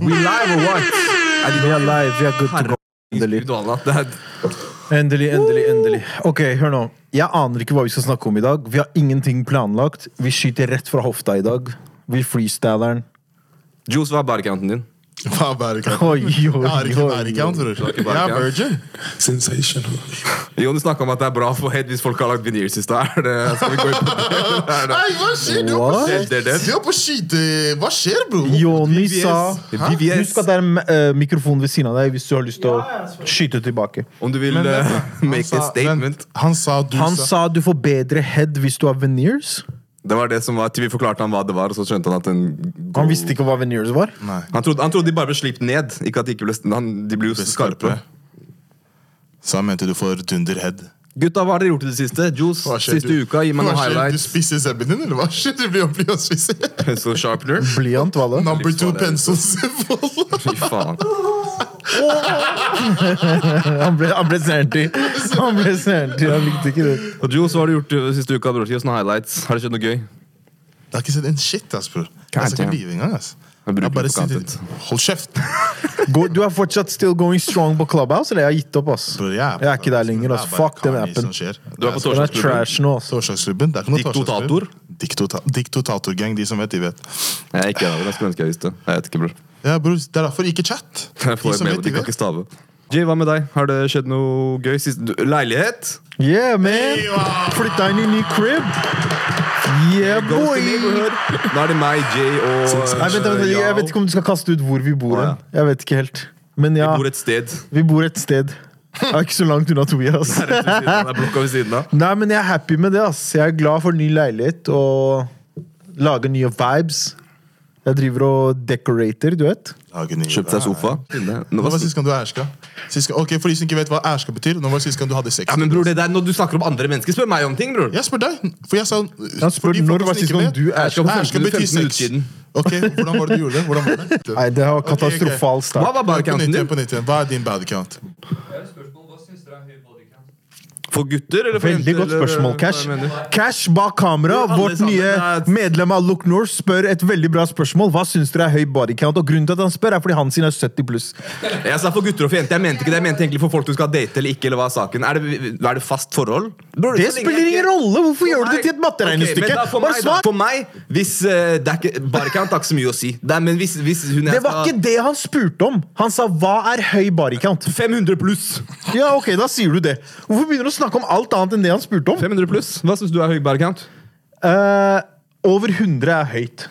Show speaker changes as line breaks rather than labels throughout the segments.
We live or what?
Er de-
Vi er live, vi er good to go. Endelig.
Herregud, Allah, det er-
Endelig, endelig, endelig. Ok, hør nå. Jeg aner ikke hva vi skal snakke om i dag. Vi har ingenting planlagt. Vi skyter rett fra hofta i dag. Vi freestyler'n.
Juice, hva er bodycounten din?
Hva er bærekraft?
Oi, oi,
Jeg har ikke
oi.
bærekraft, bror.
ikke
Jeg er
bærekraft.
virgin.
Sensational.
Jon, du snakka om at det er bra for head hvis folk har lagt veneers i stad. Er det- Skal vi gå inn på det? Er det-
Nei, hva skjer? Du er på,
What?
Det- det- det-
du er på skyte... Hva skjer, bror?
Joni
VVS.
sa
VVS.
Husk at det er en eh, mikrofon ved siden av deg hvis du har lyst til å skyte tilbake.
Om du vil
Men vent,
eh,
da. Han
make
sa-
a statement.
vent, Han sa du
Han
sa
sa du får bedre head hvis du har veneers.
Det var det som var, til Vi forklarte han hva det var, og så skjønte han at en
Han visste ikke hva veneers var.
Nei.
Han trodde, han trodde de bare ble slipt ned. Ikke at De ikke ble, han, de ble jo skarpe.
Så han mente du får dunderhead.
Gutta, hva har dere gjort i det siste? Juice,
Hva skjer,
siste
du-
uka, gi meg
Hva
noen
skjer, Du
highlights.
spiser sebben din, eller hva skjer? Du blir opplig og spiser.
Pencil sharpener.
Blyant, hva da?
Number two
Livsfarlig.
pencils.
Fy faen.
Han ble, han ble snerty. Han ble snerty. Han likte ikke det.
Og Juice, hva har du gjort eh, siste uka? bror? Gi oss noen highlights. Har det skjedd noe gøy?
Jeg har ikke sett en shit, ass, bror. Jeg skal
damn.
ikke lyve engang, ass.
Jeg bruker
Jeg bare
det på
sitter- Hold kjeft!
Går, du er fortsatt still going strong på Clubhouse, eller jeg har gitt opp, ass.
Bror, jeg, er på
Jeg er ikke der lenger,
Det er
ass.
bare
Fuck den
Kanye
appen.
som skjer.
Du er på
Den er
torsdagsklubben.
trash nå, ass.
Torsdagsklubben. Det er ikke noe
Diktotator?
torsdagsklubb. Diktota Diktatorgang, de som vet, de vet.
Jeg er ikke der, jeg skulle ønske jeg visste. Jeg vet ikke, bror.
Ja, bror, Det er derfor ikke chat.
Jeg får et mail, de kan ikke stave. Jay, hva med deg? Har det skjedd noe gøy? Sist, du, leilighet?
Yeah, man! Flytta inn i ny crib. Yeah,
Goes to
boy!
neighborhood. Nå er det meg, Jay og
Nei, vent, vent, vent, jeg vet ikke om du skal kaste ut hvor vi bor.
Å, ja.
hen. Jeg vet ikke helt. Men ja,
Vi bor et sted.
vi bor et sted. Jeg er ikke så langt unna Tobias.
Rett ved siden av. Det er blokka ved siden av.
Nei, men jeg er happy med det. ass Jeg er glad for ny leilighet og lager nye vibes. Jeg driver og decorater, du vet.
Kjøpte seg sofa. Nå
Nå
var
var sist gang du ærska. Sist gang- Ok, For de som ikke vet hva ærska betyr, nå var sist gang du hadde sex.
Ja, men bror, det der, Når du snakker om andre mennesker, spør meg om ting, bror.
Jeg spør deg, for jeg sa
Han spør når var sist gang du er
Ærska på
Ærska
15
betyr
15 minutter
sex.
siden.
Ok, Hvordan var det du gjorde det? Hvordan var det?
Nei, det var
Ok, ok.
katastrofal start.
Hva var
På nytt
barcounten
igjen,
din?
på nytt igjen. Hva er din body count?
For gutter eller for
Veldig
jenter,
godt
eller,
spørsmål,
eh, hva
Cash.
mener du?
Cash bak kamera,
Alle
vårt
sammen
nye
er-
medlem av Look North, spør et veldig bra spørsmål. Hva syns dere er høy body count? Og grunnen til at han spør, er fordi han sin er 70 pluss.
Jeg sa for gutter og for jenter. Jeg mente ikke det. Jeg mente egentlig for folk du skal date eller ikke. eller hva er saken. Er det, er det fast forhold? Bror,
Det
så lenge
spiller
jeg
ingen
ikke-
rolle! Hvorfor gjør du det
meg-
til et matteregnestykke?
Ok, men da, for,
Bare
meg, da,
svar!
for meg, hvis eh, det er ikke, Bare count har ikke så mye å si. Det er, men hvis, hvis hun jeg
Det var
skal-
ikke det han spurte om! Han sa 'hva er høy body count'?
500 pluss!
Ja, ok, da sier du det. Hvorfor begynner du å snakke om alt annet enn det han spurte om?
500 pluss? Hva syns du er høy bare count?
Eh, over 100 er høyt.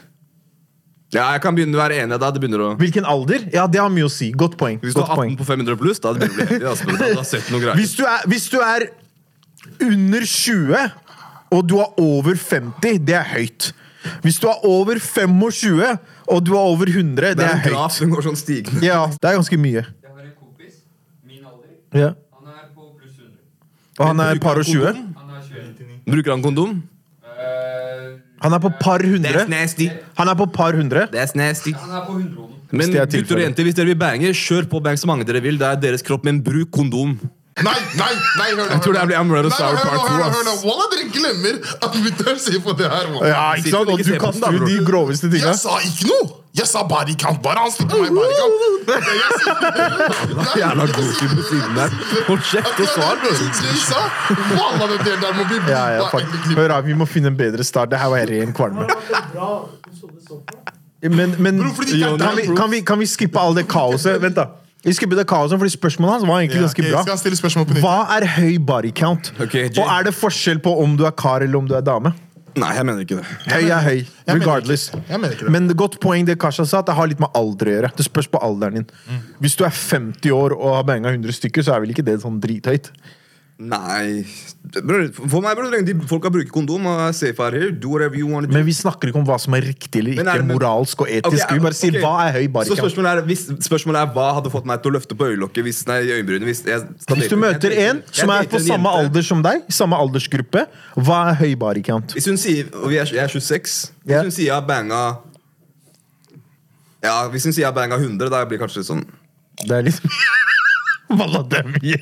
Ja, jeg kan begynne å være enig. da, det begynner å...
Hvilken alder? Ja, det har mye å si. Godt poeng.
Hvis du
Godt
har 18
poeng.
på 500 pluss, da det begynner å bli enig. Altså, da, du har sett noen greier.
Hvis du, er, hvis du er under 20 og du er over 50, det er høyt. Hvis du er over 25 og du er over 100, det
det
er
en
høyt.
graf som går sånn stigende.
Ja, det er ganske mye.
Jeg har en kompis, min alder.
Ja.
Han er på pluss 100.
Og han er par og 20.
Han er 21.
Bruker han kondom?
Eh,
Han er på par
That's
100.
nasty.
Han er på par 100.
That's nasty.
han er på 100-ånden.
Men
Hvis det er
gutter og
tilfellet.
jenter, hvis dere vil bange, kjør på bang så mange dere vil. Det er deres kropp, men bruk kondom.
Nei, nei, nei, hør nå.
Jeg tror det blir Amrød og Sour Part 2,
Hør nå,
ass.
hør nå. Wallah, dere glemmer at mutter'n sier på det her. wallah.
Ja, ikke sant? Og du kaster ut de groveste tinga.
Jeg sa ikke noe! Jeg sa body count, bare han stikker meg i body count. Men jeg sier-
Jævla goofy på siden der. Hold kjeft og svar.
Det jeg sa. Wallah, den delen der må bli
Ja, ja, fuck. Hør da, Vi må finne en bedre start. Det her var jeg ren kvalme. Men, men
Bro, fordi det er
kan, vi,
deg, bro.
kan, vi, kan vi skippe all det kaoset? Vent, da. Vi skipper det kaoset, fordi Spørsmålet hans var egentlig
Ja,
ganske
ok,
bra.
skal jeg stille spørsmål på nytt?
Hva er høy body count?
Ok, Jay.
Og er det forskjell på om du er kar eller om du er dame?
Nei, jeg mener ikke det.
Høy er høy,
mener ikke-
regardless.
jeg mener ikke det.
Men det godt poeng det Kasha sa, at det har litt med alder å gjøre. Det spørs på alderen
Mm.
din. Hvis du er 50 år og har banga 100 stykker, så er vel ikke det sånn drithøyt?
Nei Bror, For meg, bror, så lenge de folka bruker kondom og er safe out here, do whatever you want to do.
Men vi snakker ikke om hva som er riktig eller
Men er
ikke
det-
moralsk og etisk.
Ok,
vi bare sier
ok.
hva er høy body
Så
count.
spørsmålet er, hvis, spørsmålet er hva hadde fått meg til å løfte på øyelokket hvis, nei, i øyenbrynet hvis jeg skal
Hvis du
date-
møter
jeg
en
dater-
som
jeg
er på
dater en
samme
jente.
alder som deg, samme aldersgruppe, hva er høy body count?
Hvis hun sier Og vi er, jeg er 26. Hvis
Ja.
hun sier jeg har banga Ja, hvis hun sier jeg har banga 100, da blir jeg kanskje litt sånn
Det er litt Valla, liksom- det er mye!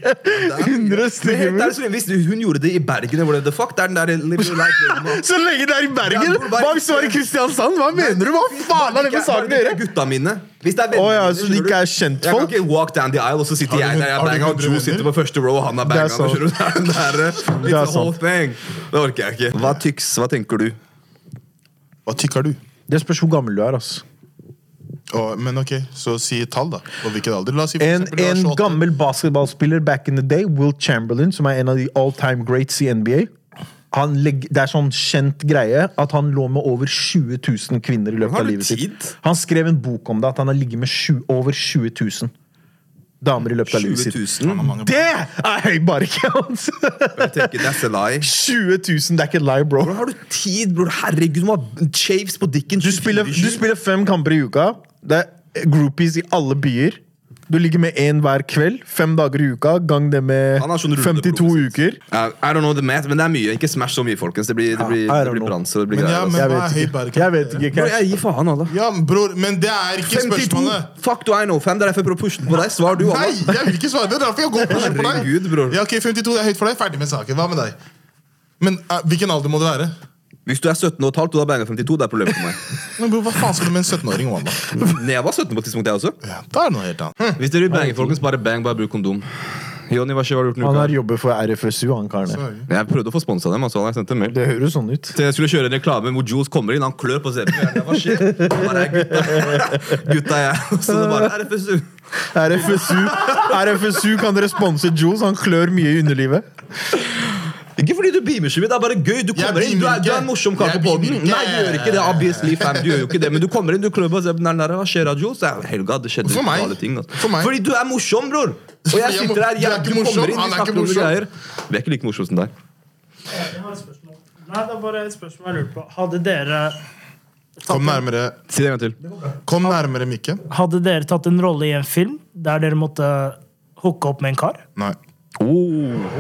100
Men
stykker.
helt ærlig,
med-
så lenge- Hvis hun gjorde det i Bergen, hvor det the fuck, det er den der live your life, live your life.
Så lenge det er i Bergen! Hva hvis det var i Kristiansand? Hva mener du? Hva faen har det med saken
Bare
å
de ikke
gjøre?
er Gutta mine. Hvis det er
Å ja,
mine,
så de ikke
skjønner
er
du.
kjentfolk?
Jeg kan ikke walk down the aisle, og så sitter
Har du
jeg
hun-
der. Jeg
har
er
du
bang, og
hundre
Joe
venner?
sitter på første row, og han er bang.
Det er sant.
skjønner du? Det er den der,
Det er
it's a whole
sant.
thing. Det orker jeg ikke. Hva tyks, hva tenker du?
Hva tikker du?
Det spørs hvor gammel du er. ass.
Å, men ok, så si et tall, da. Og hvilken alder? La oss si for
En,
eksempel du er
en
28.
gammel basketballspiller back in the day, Will Chamberlain, som er en av de all time greats i NBA han legg, Det er sånn kjent greie at han lå med over 20 000 kvinner i løpet
Har
av
du
livet sitt.
tid?
Han skrev en bok om det, at han har ligget med sju- over 20 000 damer i løpet av
20
livet sitt.
000?
Mange-
Det er høy barcount!
Jeg tenker, that's a lie.
20 000, det er ikke lie, bro.
Hvordan har du tid, bror? Herregud, du har shaves på dikken.
Du spiller, du
24.
spiller fem kamper i uka. Det er groupies i alle byer. Du ligger med én hver kveld. Fem dager i uka. Gang det med
Han har sånn runde
52
blodet
uker.
Ja, Uh, I don't know the math, men det er mye. Ikke smash så mye, folkens. Det blir, det blir,
Ja, I
det
don't
blir
know.
branser. Det blir
Men
greier.
ja,
altså.
men
Jeg
hva er
vet
høy
ikke.
berg?
Jeg vet ikke.
Bror,
Cash.
jeg gir faen, alle.
Ja, bror, men det er ikke
52!
spørsmålet.
Fuck du, I know fam. Det er derfor jeg prøver å pushe den på deg. Svar du,
Nei,
Allah.
jeg vil ikke svare. Det er derfor jeg går på skjerm på deg.
Herregud, bror.
Ja, ok, 52 det er høyt for deg. Ferdig med saken. Hva med deg? Men eh, hvilken alder må det være?
Hvis du er 17 og et halvt og du har banga 52, det er problemet for meg.
Men bror, Hva faen skal du med en 17-åring? Wanda? Hm.
Men jeg var 17 på et tidspunkt, jeg også.
Ja, da er det noe helt annet.
Hvis dere vil bange, folkens, bare bang, bare bruk kondom. Jonny, hva skjer, hva har du gjort
Han
denne
har
uka?
jobbet for RFSU, han karen.
Jeg prøvde å få sponsa dem. altså, han har sendt en mail.
Det høres sånn ut.
Så jeg skulle kjøre en reklame hvor Jules kommer inn, han klør på CB. Hva skjer? Han Bare, gutta, gutta jeg. Og Så det bare RFSU.
RFSU, RFSU kan dere sponse Jules? Han klør mye i underlivet.
Ikke fordi du beamer så mye, det er bare gøy. Du kommer inn, du
beamer
er, du er
ikke.
en morsom kar på
Jeg
poden.
beamer ikke.
Nei, du gjør ikke det. obviously, fam, du gjør jo ikke det. Men du kommer inn, du klør på seg. Nei, nei, hva skjer, Adjo? Så jeg, Helga, det skjedde
For meg.
gale ting. altså.
For meg.
Fordi du er morsom, bror! Og jeg
Jeg må-
sitter her,
du er
jeg,
ikke
du kommer inn,
morsom,
vi
han er
snakker
ikke
om
morsom.
greier. Vi er ikke like morsomme som deg.
Jeg har et spørsmål. Nei, det er bare et spørsmål jeg lurer på. Hadde dere
Kom nærmere,
Si det en gang til.
kom nærmere mikken.
Hadde dere tatt en rolle i en film der dere måtte hooke opp med en kar?
Nei.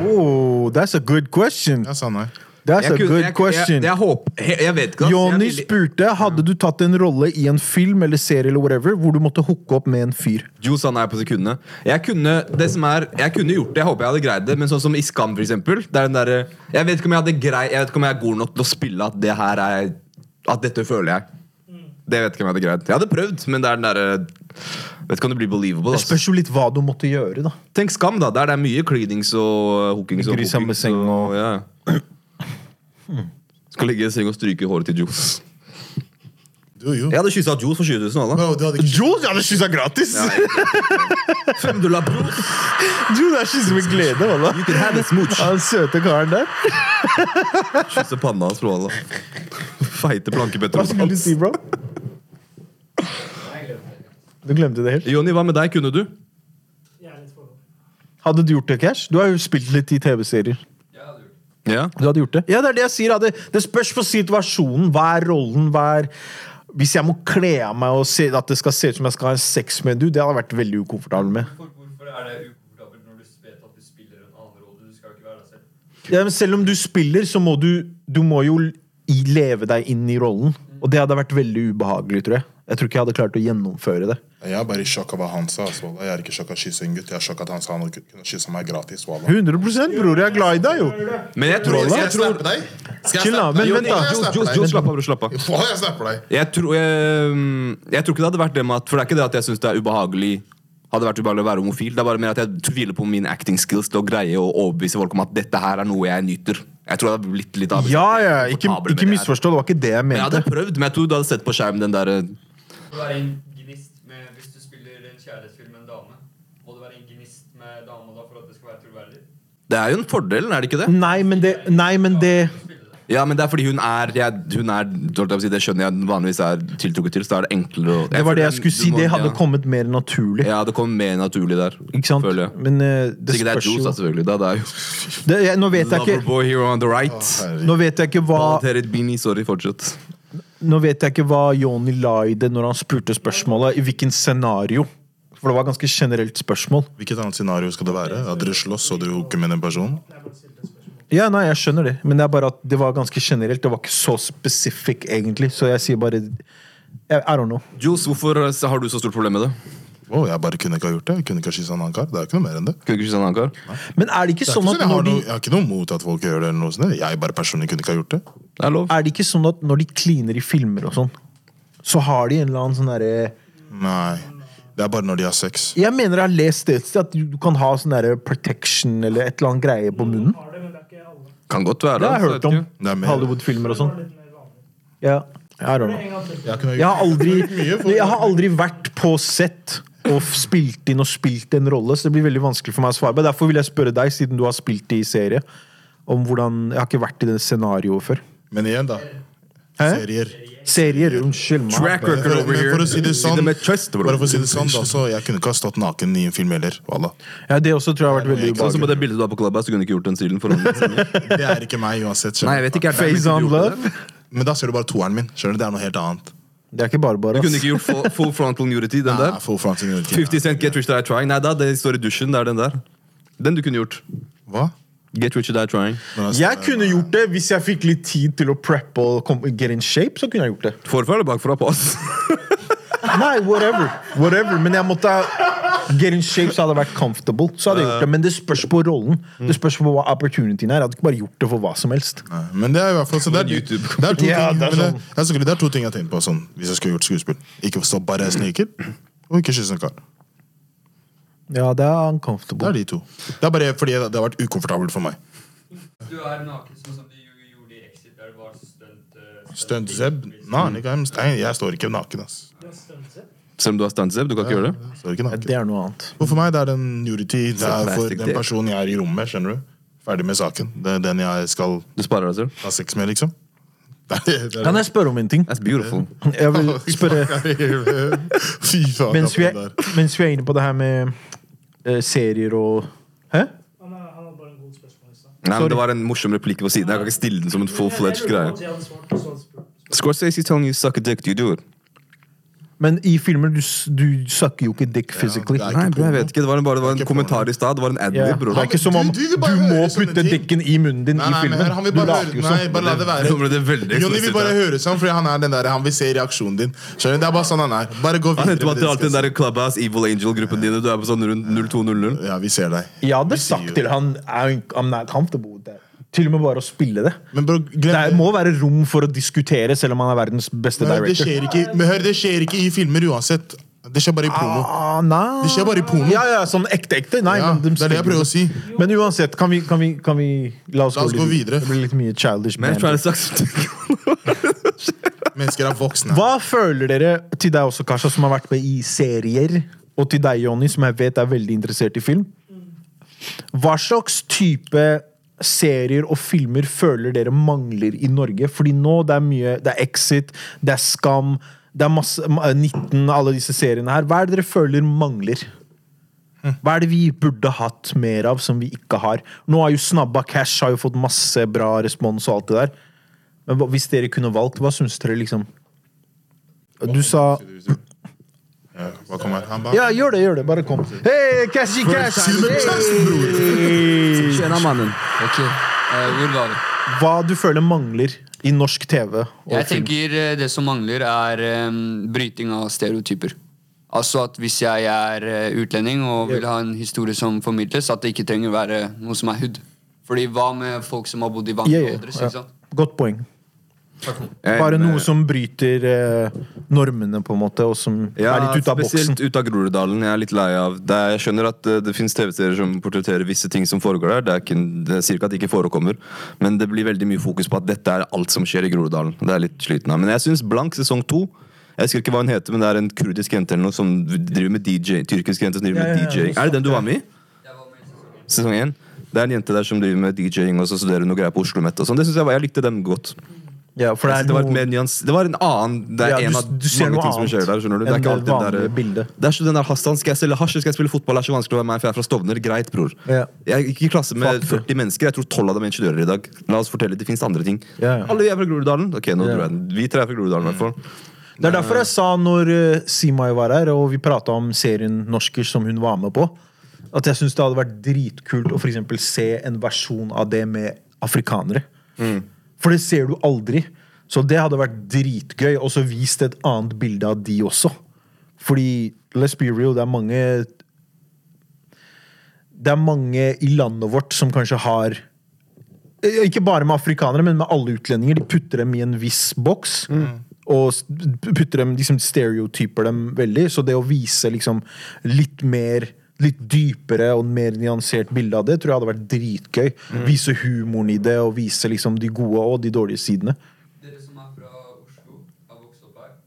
Oh, that's a good question.
Jeg sa nei.
That's a
kunne-
good
jeg,
question.
jeg, håper, jeg, jeg vet ikke. ass. Jeg
Jonny
vil-
spurte hadde du tatt en rolle i en film eller serie eller whatever, hvor du måtte hooke opp med en fyr.
Jules sa nei på sekundene. Jeg kunne, det som er, jeg kunne gjort det, jeg håper jeg hadde greid det, men sånn som i Skam, for eksempel. Det er den derre- jeg vet ikke om jeg hadde grei, jeg vet ikke om jeg er god nok til å spille at det her er At dette føler jeg. Det vet ikke om jeg hadde greid. Jeg hadde prøvd, men det er den derre Vet ikke om det blir believable.
Det
Altså.
spørs jo litt hva du måtte gjøre, da.
Tenk Skam, da. Der det er mye klinings og uh, hookings og
Ligger i samme
hookings
seng og- Hmm.
ja. Skal ligge i seng og stryke håret til Jules.
Du, jo.
Jeg hadde kyssa Jules for 20 000, alle.
Bro, du hadde ikke
Jules, jeg hadde kyssa gratis!
Femdollar, bro.
Jules jeg kysser med glede, walla.
You can have a smooch.
Han søte karen der.
Kysse panna hans, bro. alle. Feite
Hva skulle du
plankepetron.
si, bro? Du glemte det helt.
Jonny, hva med deg? Kunne du?
Hadde du gjort det, Cash? Du har jo spilt litt i TV-serier.
Jeg hadde gjort det.
Ja.
Du hadde gjort det? Ja, det er det jeg sier. ja. Det, det spørs på situasjonen. Hva er rollen? Hva er Hvis jeg må kle av meg og se, at det skal se ut som jeg skal ha en sex med en dude, det hadde jeg vært veldig ukomfortabel med.
Hvor- Hvorfor er det ukomfortabelt når du vet at du spiller en annen rolle? Du skal jo ikke være deg selv.
Ja, men selv om du spiller, så må du Du må jo i- leve deg inn i rollen. Og det hadde vært veldig ubehagelig, tror jeg. Jeg tror ikke jeg hadde klart å gjennomføre det.
Jeg er bare i sjokk av hva han sa. altså. Jeg er ikke i sjokk av å kysse en gutt. Jeg er i sjokk av at han sa han kunne kysse meg gratis. Walla.
100 bror. Jeg er glad i deg, jo.
Men jeg tror,
Skal
jeg
jeg
tror
snappe deg? Skal jeg
Chill, da.
snappe deg?
Men- men
Jo,
da.
jeg
Jo,
snapper
jo,
deg.
jo, slapp av, bro. Slapp av.
Faen, jeg snapper deg.
Jeg tror, jeg, mm, jeg tror ikke det hadde vært det med at For det er ikke det at jeg syns det er ubehagelig hadde vært ubehagelig å være homofil. Det er bare mer at jeg tviler på min acting skills til å greie å overbevise folk om at dette her er noe jeg nyter. Jeg tror det hadde blitt litt av
Ja, ja.
komfortabel
Ikke,
med
ikke
det her.
misforstå. Det var ikke det jeg
Men Jeg hadde
mente.
prøvd, men jeg tror du hadde sett på skjermen den eh, derre
Må det være en gnist med, Hvis du spiller en kjærlighetsfilm med en dame, må det være en gnist med dama da for at det skal være troverdig?
Det er jo en fordel, er det ikke det?
Nei, men det Nei, men det
Ja, men det er fordi hun er, jeg, hun er holdt jeg på å si, Det skjønner jeg hun vanligvis er tiltrukket til, så da er det enklere å
Det var det jeg skulle si.
Du må-
Det hadde
ja.
kommet mer naturlig.
Ja, det kommer mer naturlig der.
Ikke sant?
Føler jeg.
Men eh, det
Sikkert det er altså.
spørs
Jules, da,
jo
selvfølgelig. Da, det er jo
det, jeg, nå, vet jeg ikke,
Loverboy here on the right.
nå vet jeg ikke hva
Valteret Beanie, sorry, fortsett.
Nå vet jeg ikke hva Joni la i det når han spurte spørsmålet. I hvilken scenario? For det var ganske generelt spørsmål.
Hvilket annet scenario skal det være? At dere slåss og du hooker med den personen?
Ja, nei, jeg skjønner det, men det er bare at det var ganske generelt. Det var ikke så specific, egentlig. Så jeg sier bare I, I don't know.
Jules, hvorfor har du så stort problem med det?
Wow, jeg bare kunne ikke ha gjort det. Jeg kunne ikke ha kyssa en annen kar. Det er ikke noe mer enn det.
Kunne du ikke kysse en annen kar?
Men er det ikke
Det er
sånn at
ikke sånn jeg, har
når de
noe, jeg har ikke noe mot at folk gjør det. eller noe sånt. Jeg bare personlig kunne ikke ha gjort det.
Det er lov.
Er det ikke sånn at når de kliner i filmer og sånn, så har de en eller annen sånn derre
Nei. Det er bare når de har sex.
Jeg mener jeg har lest et sted at du kan ha sånn derre protection eller et eller annet greie på munnen.
Har det, men det er ikke alle.
Kan godt være.
Det har jeg
altså,
hørt om.
vet ikke.
Det er mer-
Hollywood-filmer og sånn.
Det er litt mer vanlig.
Ja. I don't know.
En gang til.
Jeg kunne
Jeg har aldri,
mye for-
jeg har aldri vært på sett og spilt inn og spilt en rolle, så det blir veldig vanskelig for meg å svare på. Derfor vil jeg spørre deg, siden du har spilt i serie, om hvordan Jeg har ikke vært i det scenarioet før.
Men igjen, da.
Hæ?
Serier.
Serier, unnskyld
Track
meg.
Men
record
for,
over
men
here.
for å si det sånn,
Sitter med chest, bro.
bare for å si det sånn da, så jeg kunne ikke ha stått naken i en film heller. Walla.
Ja, det også tror jeg har vært veldig
Sånn som på
ubehagelig.
det bildet du har på Clubhouse, du kunne ikke gjort den stilen foran
Det er ikke meg uansett. skjønner
Nei, jeg vet ikke. er det-
Face on love.
Men da ser du bare toeren min. skjønner du? Det er noe helt annet.
Det er ikke bare
Du
bare.
kunne
ass.
ikke gjort full, full frontal nudity, den
Nei,
der.
full front in your team.
50 Cent, Get Rich or Die Trying. Nei da, det står i dusjen. Det er den der. Den du kunne gjort.
Hva?
Get Rich or Die Trying.
Men altså,
Jeg kunne gjort det hvis jeg fikk litt tid til å preppe og kom- get in shape. så kunne jeg gjort det.
Forfra eller bakfra på oss?
Nei, whatever. whatever. Men jeg måtte get in shape, så hadde jeg vært comfortable. Så hadde jeg gjort det, Men det spørs på rollen. Det spørs på hva opportunityen er. Jeg hadde ikke bare gjort det for hva som helst.
Nei, Men det er i hvert fall så det er,
Men
det
YouTube-
er to ting
Ja, det er
men det,
sånn.
det, er sikkert- det er to ting jeg tenkte på sånn, hvis jeg skulle gjort skuespill. Ikke stå bare i sneaker, og ikke kysse en kar.
Ja, det er
Det er
uncomfortable.
de to. Det er bare fordi det har vært ukomfortabelt for meg.
Du er naken sånn som du jo gjorde i Exit, der det var stunt... eh,
Stunt Zeb? Nei, han ikke er- Nei, jeg står ikke naken, ass.
Det er stuntsett.
Selv om du har stuntzeb, du kan ikke gjøre det.
Jeg står ikke naken.
Det er noe annet.
Og for meg det er den nudity det er for
Sarcastic
den
dick.
personen jeg er i rommet med, skjønner du. Ferdig med saken. Det er den jeg skal
Du sparer deg selv.
ha sex med, liksom. Det er, det er,
Kan jeg spørre om en ting?
That's beautiful.
Jeg vil spørre
Fy faen.
Mens vi er,
den der.
mens vi er inne på det her med eh, serier og Hæ?
Han er- han hadde bare en god spørsmål i stad.
Nei, men
Sorry.
Det var en morsom replikk på siden. Jeg kan ikke stille den som en full-fledged
Jeg
greie.
lurer på om jeg hadde svart på sånn spørsmål.
Scorsese is telling you suck a dick, do you do it?
Men i filmer du, s- du sucker jo ikke dick physically.
det er
Nei, bro, jeg vet ikke. Det var en, bare det var en
Ikke
kommentar i stad. Det var en
Ja.
adlib,
Det
bror.
er ikke som om du
Du- du vil bare
må
høre sånne
putte
ting.
dikken i munnen din
Nei,
i
nei, men
filmen.
her, han vil
Du
bare
later
høre
jo sånn-
Nei,
som.
bare la det være.
Nå ble det veldig
Jonny vil
eksplosivt
bare
her.
høre sånn, fordi han er den der, han vil se reaksjonen din. Skjønner du? Det er bare sånn han er. Bare gå
Han heter bare
videre. med
til
det du
alt den
skal
der Clubhouse Evil Angel-gruppen din. og Du er på sånn rundt 0200.
si. Ja, vi ser deg.
Jeg hadde
jo-
sagt til han I'm I'm not comfortable with that. Til og med bare å spille det.
Men bro,
Det
glem
er- må være rom for å diskutere, selv om han er verdens beste
Nei, det
director.
skjer ikke, men hør, det skjer ikke i filmer uansett. Det skjer bare i porno.
Ah, nei.
Det skjer bare i porno.
Ja, ja, sånn ekte-ekte. Nei,
Ja,
men de
det er det jeg
spiller
prøver å
det.
si.
Men uansett, kan vi, kan vi, kan vi La oss,
La oss gå videre.
Det blir litt mye childish.
Men jeg tror
banter.
det er sagt.
Mennesker er voksne.
Hva føler dere, til deg også, Kasha, som har vært med i serier, og til deg, Jonny, som jeg vet er veldig interessert i film? Hva slags type serier og filmer føler dere mangler i Norge? Fordi nå det er mye Det er Exit, det er Skam, det er masse, ma- 19, alle disse seriene her. Hva er det dere føler mangler? Hva er det vi burde hatt mer av, som vi ikke har? Nå har jo Snabba Cash har jo fått masse bra respons og alt det der. Men hva- hvis dere kunne valgt, hva syns dere, liksom? Du sa
Ja, Hva kom her? Han ba-
Ja, gjør det, gjør det. Bare kom. Hei, Cashy Cash! Hey!
Tjena, mannen.
Ok, eh, hvor var vi?
Hva du føler mangler i norsk TV og
Jeg
film?
tenker eh, det som mangler er eh, bryting av stereotyper. Altså at hvis jeg er eh, utlending og vil ha en historie som formidles, at det ikke trenger være noe som er hud. Fordi hva med folk som har bodd i
Ja, ja,
vandreådres, ikke
ja.
sant?
Godt poeng. Bare noe som bryter eh, normene, på en måte, og som
Ja,
er litt ute av boksen.
spesielt ute av Groruddalen. Jeg er litt lei av det. Jeg skjønner at eh, det finnes TV-serier som portretterer visse ting som foregår der. Det er, ikke, det er cirka at det ikke forekommer. Men det blir veldig mye fokus på at dette er alt som skjer i Groruddalen. Det er jeg litt sliten av. Men jeg syns Blank sesong to jeg husker ikke hva hun heter, men det er en kurdisk jente eller noe som driver med DJ. Tyrkisk jente som driver
Ja, ja,
med
ja,
DJ. Er det den du var med i?
Jeg var med i sesong én.
Sesong én? Det er en jente der som driver med DJ-ing og så studerer hun noe greier på Oslo Met og sånn. Det synes jeg, var- jeg likte dem godt.
Ja, for
Jeg synes Altså,
det er
det, var et
noe
mer nyans, det var en annen Det er
Ja, du-
en av
du ser
mange
noe
ting som
annet
skjer der. skjønner du Det er
enn
ikke
det
alltid den
vanlige
der, eh,
bildet.
Det er ikke den der Hassan, skal jeg selge hasj eller skal jeg spille fotball? Det er så vanskelig å være meg, for jeg er fra Stovner. Greit, bror.
Ja.
Jeg gikk i klasse med
Fuck
40 mennesker. Jeg tror 12 av dem er ingeniører i dag. La oss fortelle, det finnes andre ting.
Ja, ja.
Alle vi er fra Groruddalen. Ok, nå
Ja.
dro jeg den. Vi tre er fra Groruddalen, i hvert fall.
Det er derfor jeg sa når eh, Simai var her, og vi prata om serien Norsker som hun var med på, at jeg syns det hadde vært dritkult å for eksempel se en versjon av det med afrikanere. For det ser du aldri. Så det hadde vært dritgøy. Og så vist et annet bilde av de også. Fordi, let's be real, det er mange Det er mange i landet vårt som kanskje har eh, Ikke bare med afrikanere, men med alle utlendinger. De putter dem i en viss boks.
Mm.
Og s- putter dem, liksom stereotyper dem veldig. Så det å vise liksom litt mer Litt dypere og mer nyansert bilde av det tror jeg hadde vært dritgøy.
Mm.
Vise humoren i det, og vise liksom de gode og de dårlige sidene.
Dere som er fra Oslo, har vokst opp her.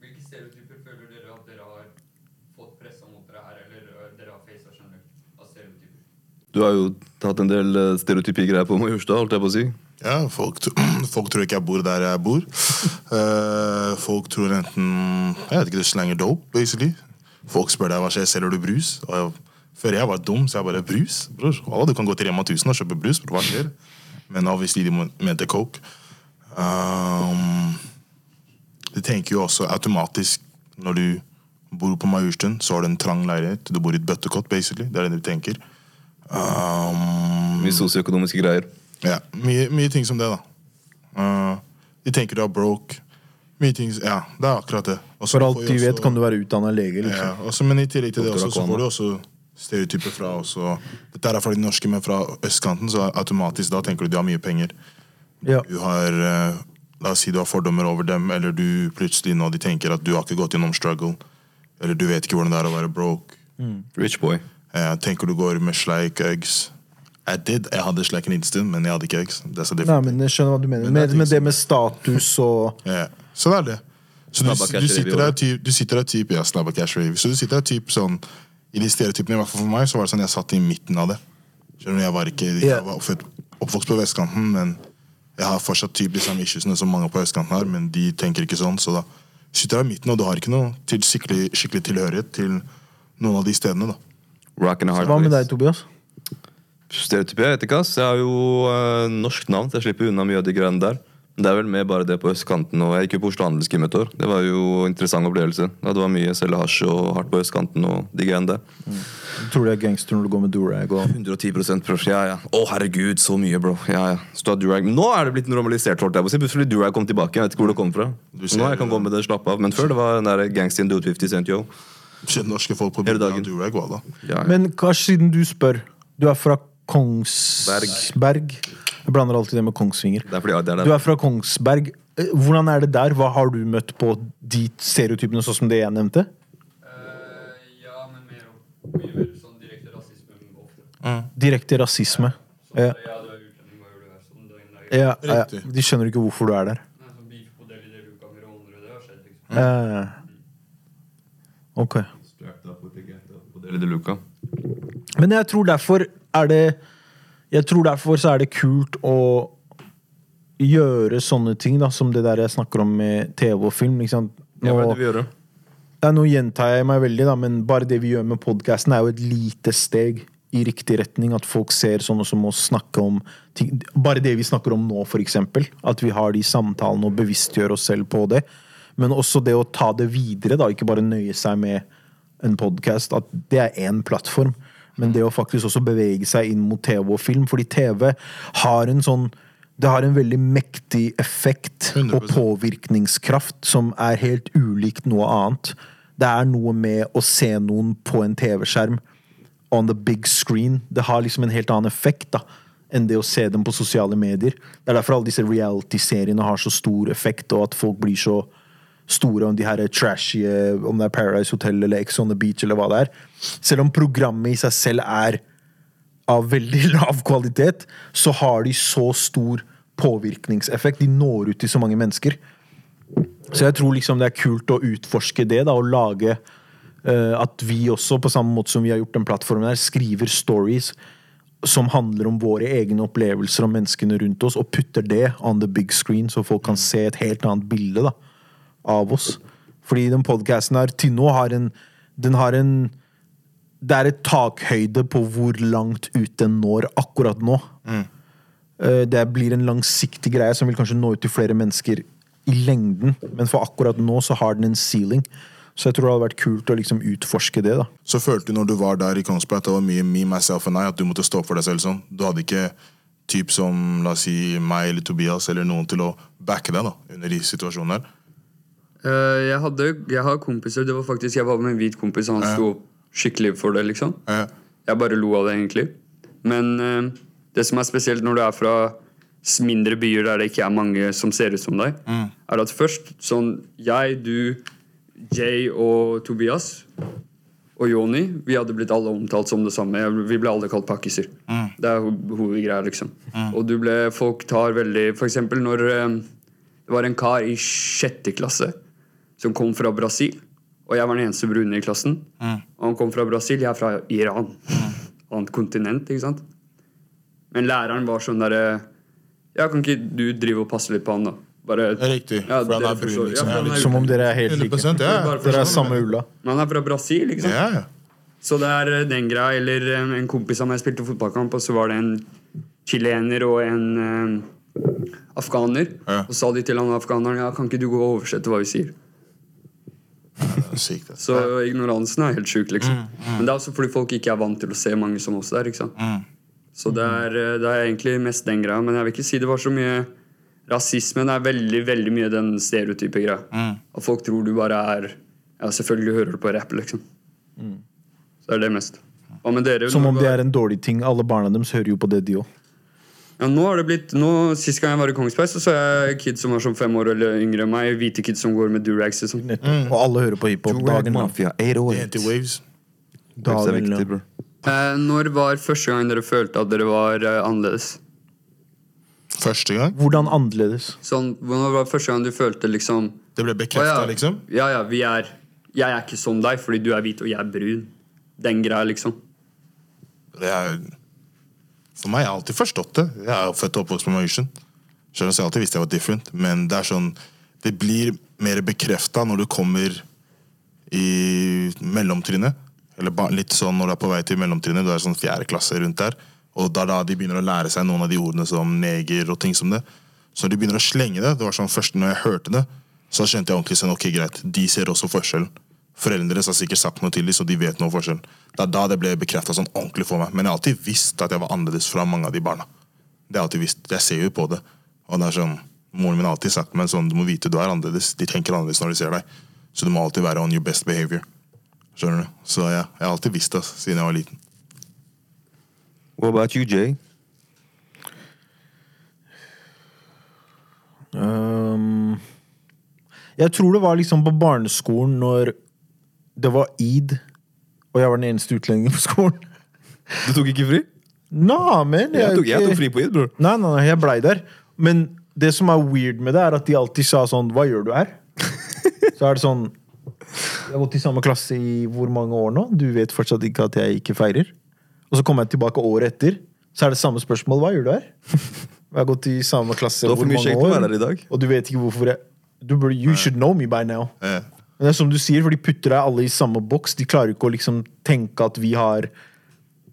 Hvilke stereotyper føler dere at dere har fått pressa mot dere her, eller eh, dere har facet generelt av stereotyper?
Du har jo tatt en del eh, stereotype greier på meg i Hurstad, holdt jeg på å si.
Ja, folk, tr- folk tror ikke jeg bor der jeg bor. Eh, folk tror enten Jeg vet ikke, du slenger dope, basically. Folk spør deg hva skjer, selger du brus? Og jeg, før jeg var dum, så jeg bare brus? Bror, Wallah, du kan gå til Rema 1000 og kjøpe brus, bror, hva skjer? Men obviously, de mon- mente coke. Um, de tenker jo også automatisk når du bor på Majorstuen, så har du en trang leilighet. Du bor i et bøttekott, basically. Det er det de tenker. Um,
Mm.
Mye sosioøkonomiske greier.
ja, mye, mye ting som det, da. Eh, de tenker du er broke. Mye ting Ja, det er akkurat det. Også
For alt
får
de
jeg
vet,
også-
kan du være utdanna lege. Liksom.
ja, også, Men i tillegg til det
Doktor
også, så
Akwana.
får du også stereotyper fra også, Dette er fra de norske, men fra østkanten, så automatisk da tenker du du har mye penger.
Ja.
Du har eh, La oss si du har fordommer over dem, eller du plutselig nå de tenker at du har ikke gått gjennom struggle, eller du vet ikke hvordan det er å være broke.
Rich boy.
Eh, tenker du går med sleik, eggs. I did. Jeg hadde sleik en liten stund, men jeg hadde ikke eggs. That's a
Nei,
different
men jeg skjønner hva du mener.
Men det er
Med,
liksom- ting
med det
som-
med status og
Ja, så det er det. Så du,
Snabba cash
du,
rave i
sitter der
året.
typ, du sitter der typ Ja, snabba cash rave. Så du sitter der typ sånn I de stereotypene, i hvert fall for meg, så var det sånn jeg satt i midten av det. Skjønner du, Jeg var ikke
Ja.
Jeg var oppfødt, oppvokst på vestkanten, men jeg har fortsatt typ de samme issuesene som mange på østkanten har, men de tenker ikke sånn, så da sitter du der i midten, og du har ikke noe til skikkelig, skikkelig tilhørighet til noen av de stedene, da.
Rock and a hard
Hva med
place.
deg, Tobias?
Stereotype, jeg vet ikke, ass. Jeg har jo eh, norsk navn, så jeg slipper unna mye av de greiene der. Men det er vel mer bare det på østkanten. Og jeg gikk jo på Oslo Handelsgym et år. Det var jo en interessant opplevelse. Ja, det var mye selge hasj og hardt på østkanten og de greiene der.
Tror du er gangster når du går med durag og
110 bro. Ja, ja. Å, herregud, så mye, bro. Ja, ja. Så du har durag. Men Nå er det blitt normalisert. holdt jeg på å si. Plutselig durag kom tilbake. Jeg vet ikke hvor det kom fra.
Du ser-
Nå jeg kan gå med det, slapp av. Men før det var den der gangstien dude 50 cent, yo.
Kjenner norske folk på
Hele
bildet
dagen.
av Durag, hva da?
Ja, ja.
Men kanskje siden du spør Du er fra Kongsberg Jeg blander alltid det med Kongsvinger
Det er fordi ja, det er
Du
det.
er fra Kongsberg Eh, Hvordan er det der? Hva har du møtt på de stereotypene Sånn som det jeg nevnte?
Eh, ja, men mer om mye mer sånn direkte rasisme ofte.
Direkte rasisme Eh, Ja.
Sånn, ja. du er utlending, hva gjør du her? Sånn, dagen, dagen.
ja, ja.
Riktig.
De skjønner ikke hvorfor du er der
Nei, sånn beefmodell i det luka med rånere, det har skjedd, liksom.
eh, Ok
Eller Luca.
Men jeg tror derfor er det Jeg tror derfor så er det kult å gjøre sånne ting da, som det der jeg snakker om med TV og film. Ikke sant?
Ja, hva er det
Nå,
du vil gjøre?
ja, nå gjentar jeg meg veldig, da, men bare det vi gjør med podkasten, er jo et lite steg i riktig retning. At folk ser sånne som oss snakke om ting. Bare det vi snakker om nå, for eksempel. At vi har de samtalene og bevisstgjør oss selv på det. Men også det å ta det videre, da. Ikke bare nøye seg med en podkast. At det er én plattform. Men det å faktisk også bevege seg inn mot TV og film. Fordi TV har en sånn Det har en veldig mektig effekt og
100%.
påvirkningskraft som er helt ulikt noe annet. Det er noe med å se noen på en TV-skjerm on the big screen. Det har liksom en helt annen effekt da enn det å se dem på sosiale medier. Det er derfor alle disse reality-seriene har så stor effekt, og at folk blir så store om de her trashy eh, Om det er Paradise Hotel eller Ex on the Beach eller hva det er. Selv om programmet i seg selv er av veldig lav kvalitet, så har de så stor påvirkningseffekt. De når ut til så mange mennesker. Så jeg tror liksom det er kult å utforske det, da, og lage eh, at vi også, på samme måte som vi har gjort den plattformen her, skriver stories som handler om våre egne opplevelser og menneskene rundt oss, og putter det on the big screen, så folk kan se et helt annet bilde da, av oss. Fordi den podkasten her til nå har en Den har en det er et takhøyde på hvor langt ut den når akkurat nå. Eh, Det blir en langsiktig greie som vil kanskje nå ut til flere mennesker i lengden, men for akkurat nå så har den en ceiling. Så jeg tror det hadde vært kult å liksom utforske det. da.
Så følte du når du var der i Kongsberg at det var mye me, myself and I, at du måtte stå opp for deg selv sånn. Du hadde ikke typ som la oss si meg eller Tobias eller noen til å backe deg da, under de situasjonene her.
Eh, jeg, hadde, jeg har kompiser. Det var faktisk, Jeg var med en hvit kompis, og han
Ja.
sto opp skikkelig for det. liksom
Ja.
Jeg bare lo av det, egentlig. Men eh, det som er spesielt når du er fra s- mindre byer der det ikke er mange som ser ut som deg,
Mm.
er at først sånn Jeg, du, Jay og Tobias og Joni, vi hadde blitt alle omtalt som det samme. Jeg- Vi ble alle kalt pakkiser.
Mm.
Det er ho- hovedgreia, liksom. Og du ble Folk tar veldig For eksempel når eh, det var en kar i sjette klasse som kom fra Brasil. Og jeg var den eneste brune i klassen.
Mm.
Og han kom fra Brasil, jeg er fra Iran. Annet kontinent, ikke sant? Men læreren var sånn derre Ja, kan ikke du drive og passe litt på han, da? Bare,
Riktig,
Ja,
for han
dere
er brun,
forstår.
liksom.
Ja, for
Ja,
han er
Som om dere er helt like.
100 ja.
Bare
Dere er samme
sånn.
ulla.
Men han er fra Brasil, ikke sant?
Ja, ja.
Så det er eh, den greia, eller eh, en kompis av meg spilte fotballkamp, og så var det en chilener og en eh, afghaner.
Ja.
Og så sa de til han afghaneren ja, kan ikke du gå og oversette hva vi sier.
Det er Sykt, ass.
Så ignoransen er helt sjuk, liksom.
Mm,
Men det er også fordi folk ikke er vant til å se mange som oss der. ikke sant?
Mm.
Så det er, eh, det er egentlig mest den greia. Men jeg vil ikke si det var så mye rasisme. Det er veldig veldig mye den stereotype greia.
Mm.
At folk tror du bare er Ja, selvfølgelig hører du på rapp, liksom. Så det er det mest. Hva med dere?
Mm. Som
Når
om
du
det
var-
er en dårlig ting. Alle barna deres hører jo på det, de òg.
ja, nå har det blitt, nå, Sist gang jeg var i Kongsberg, så så jeg kids som var som fem år eller yngre enn meg. Hvite kids som går med durags. Liksom.
Og
Mm.
alle hører på hiphop dagen lang.
Mafia, 808.
Anti-waves.
Det er
Dagen
viktig,
lang.
bro.
Eh, når var første gang dere følte at dere var eh, annerledes?
Første gang.
Hvordan annerledes?
Sånn, Når var det første gang du følte liksom
Det ble
«Å ja,
bekrefta, liksom.
Ja, ja, vi er Jeg er ikke som deg fordi du er hvit og jeg er brun. Den greia, liksom.
Det er, for meg jeg har alltid forstått det. Jeg er jo født og oppvokst med Mauritian. Skjønner, så jeg har alltid visste jeg var different. Men det er sånn, det blir mer bekrefta når du kommer i mellomtrinnet. Eller ba- litt sånn når du er på vei til mellomtrinnet. Du er sånn fjerde klasse rundt der. Og det er da de begynner å lære seg noen av de ordene som neger og ting som det. Så når de begynner å slenge det, det var sånn først når jeg hørte det, så skjønte jeg ordentlig sånn, ok greit, de ser også forskjellen. Foreldre deres har sikkert sagt noe til dem, så de vet noe om forskjellen. Det er da det ble bekrefta sånn ordentlig for meg. Men jeg har alltid visst at jeg var annerledes fra mange av de barna. Det har jeg alltid visst. Jeg ser jo på det. Og det er sånn, Moren min har alltid sagt meg sånn, du må vite du er annerledes. De tenker annerledes når de ser deg. Så du må alltid være on your best behavior. Skjønner du? Så ja, jeg har alltid visst det ass, siden jeg var liten.
What about you, Jay?
Ehm, jeg tror det var liksom på barneskolen når det var eid, og jeg var den eneste utlendingen på skolen.
Du tok ikke fri?
Nå, men
Jeg tok, jeg tok fri på id, bror.
Nei, nei, nei, jeg blei der. Men det som er weird med det, er at de alltid sa sånn Hva gjør du her? Så er det sånn Jeg har gått i samme klasse i hvor mange år nå? Du vet fortsatt ikke at jeg ikke feirer. Og så kommer jeg tilbake året etter, så er det samme spørsmål. Hva gjør du her? Jeg har gått i samme klasse
Det var for
hvor
mye
mange
kjekt å
år.
være her i dag.
Og du vet ikke hvorfor jeg du burde, You should know me by now.
Eh,
Men det er som du sier, for de putter deg alle i samme boks. De klarer ikke å liksom tenke at vi har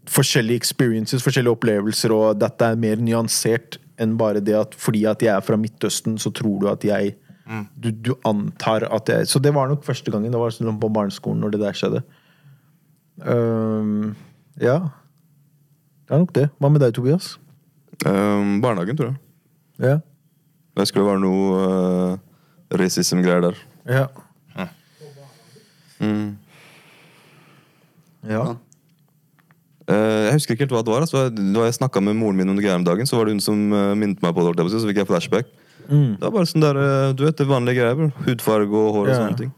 forskjellige experiences, forskjellige opplevelser, og dette er mer nyansert enn bare det at fordi at jeg er fra Midtøsten, så tror du at jeg du, du antar at jeg Så det var nok første gangen. Det var sånn på barneskolen når det der skjedde. Ehm, ja. Det er nok det. Hva med deg, Tobias?
Ehm, barnehagen, tror jeg.
Ja.
Det skulle være noe eh, racism-greier der.
Ja.
Mm.
ja.
Eh, jeg husker ikke helt hva det var. Altså. Da jeg snakka med moren min under greier om dagen, så var det hun som eh, minnet meg på det. holdt jeg på å si, Så fikk jeg flashback. Det var bare sånn der, eh, du vet, det vanlige greier. bro. Hudfarge og hår og
Ja.
sånne ting.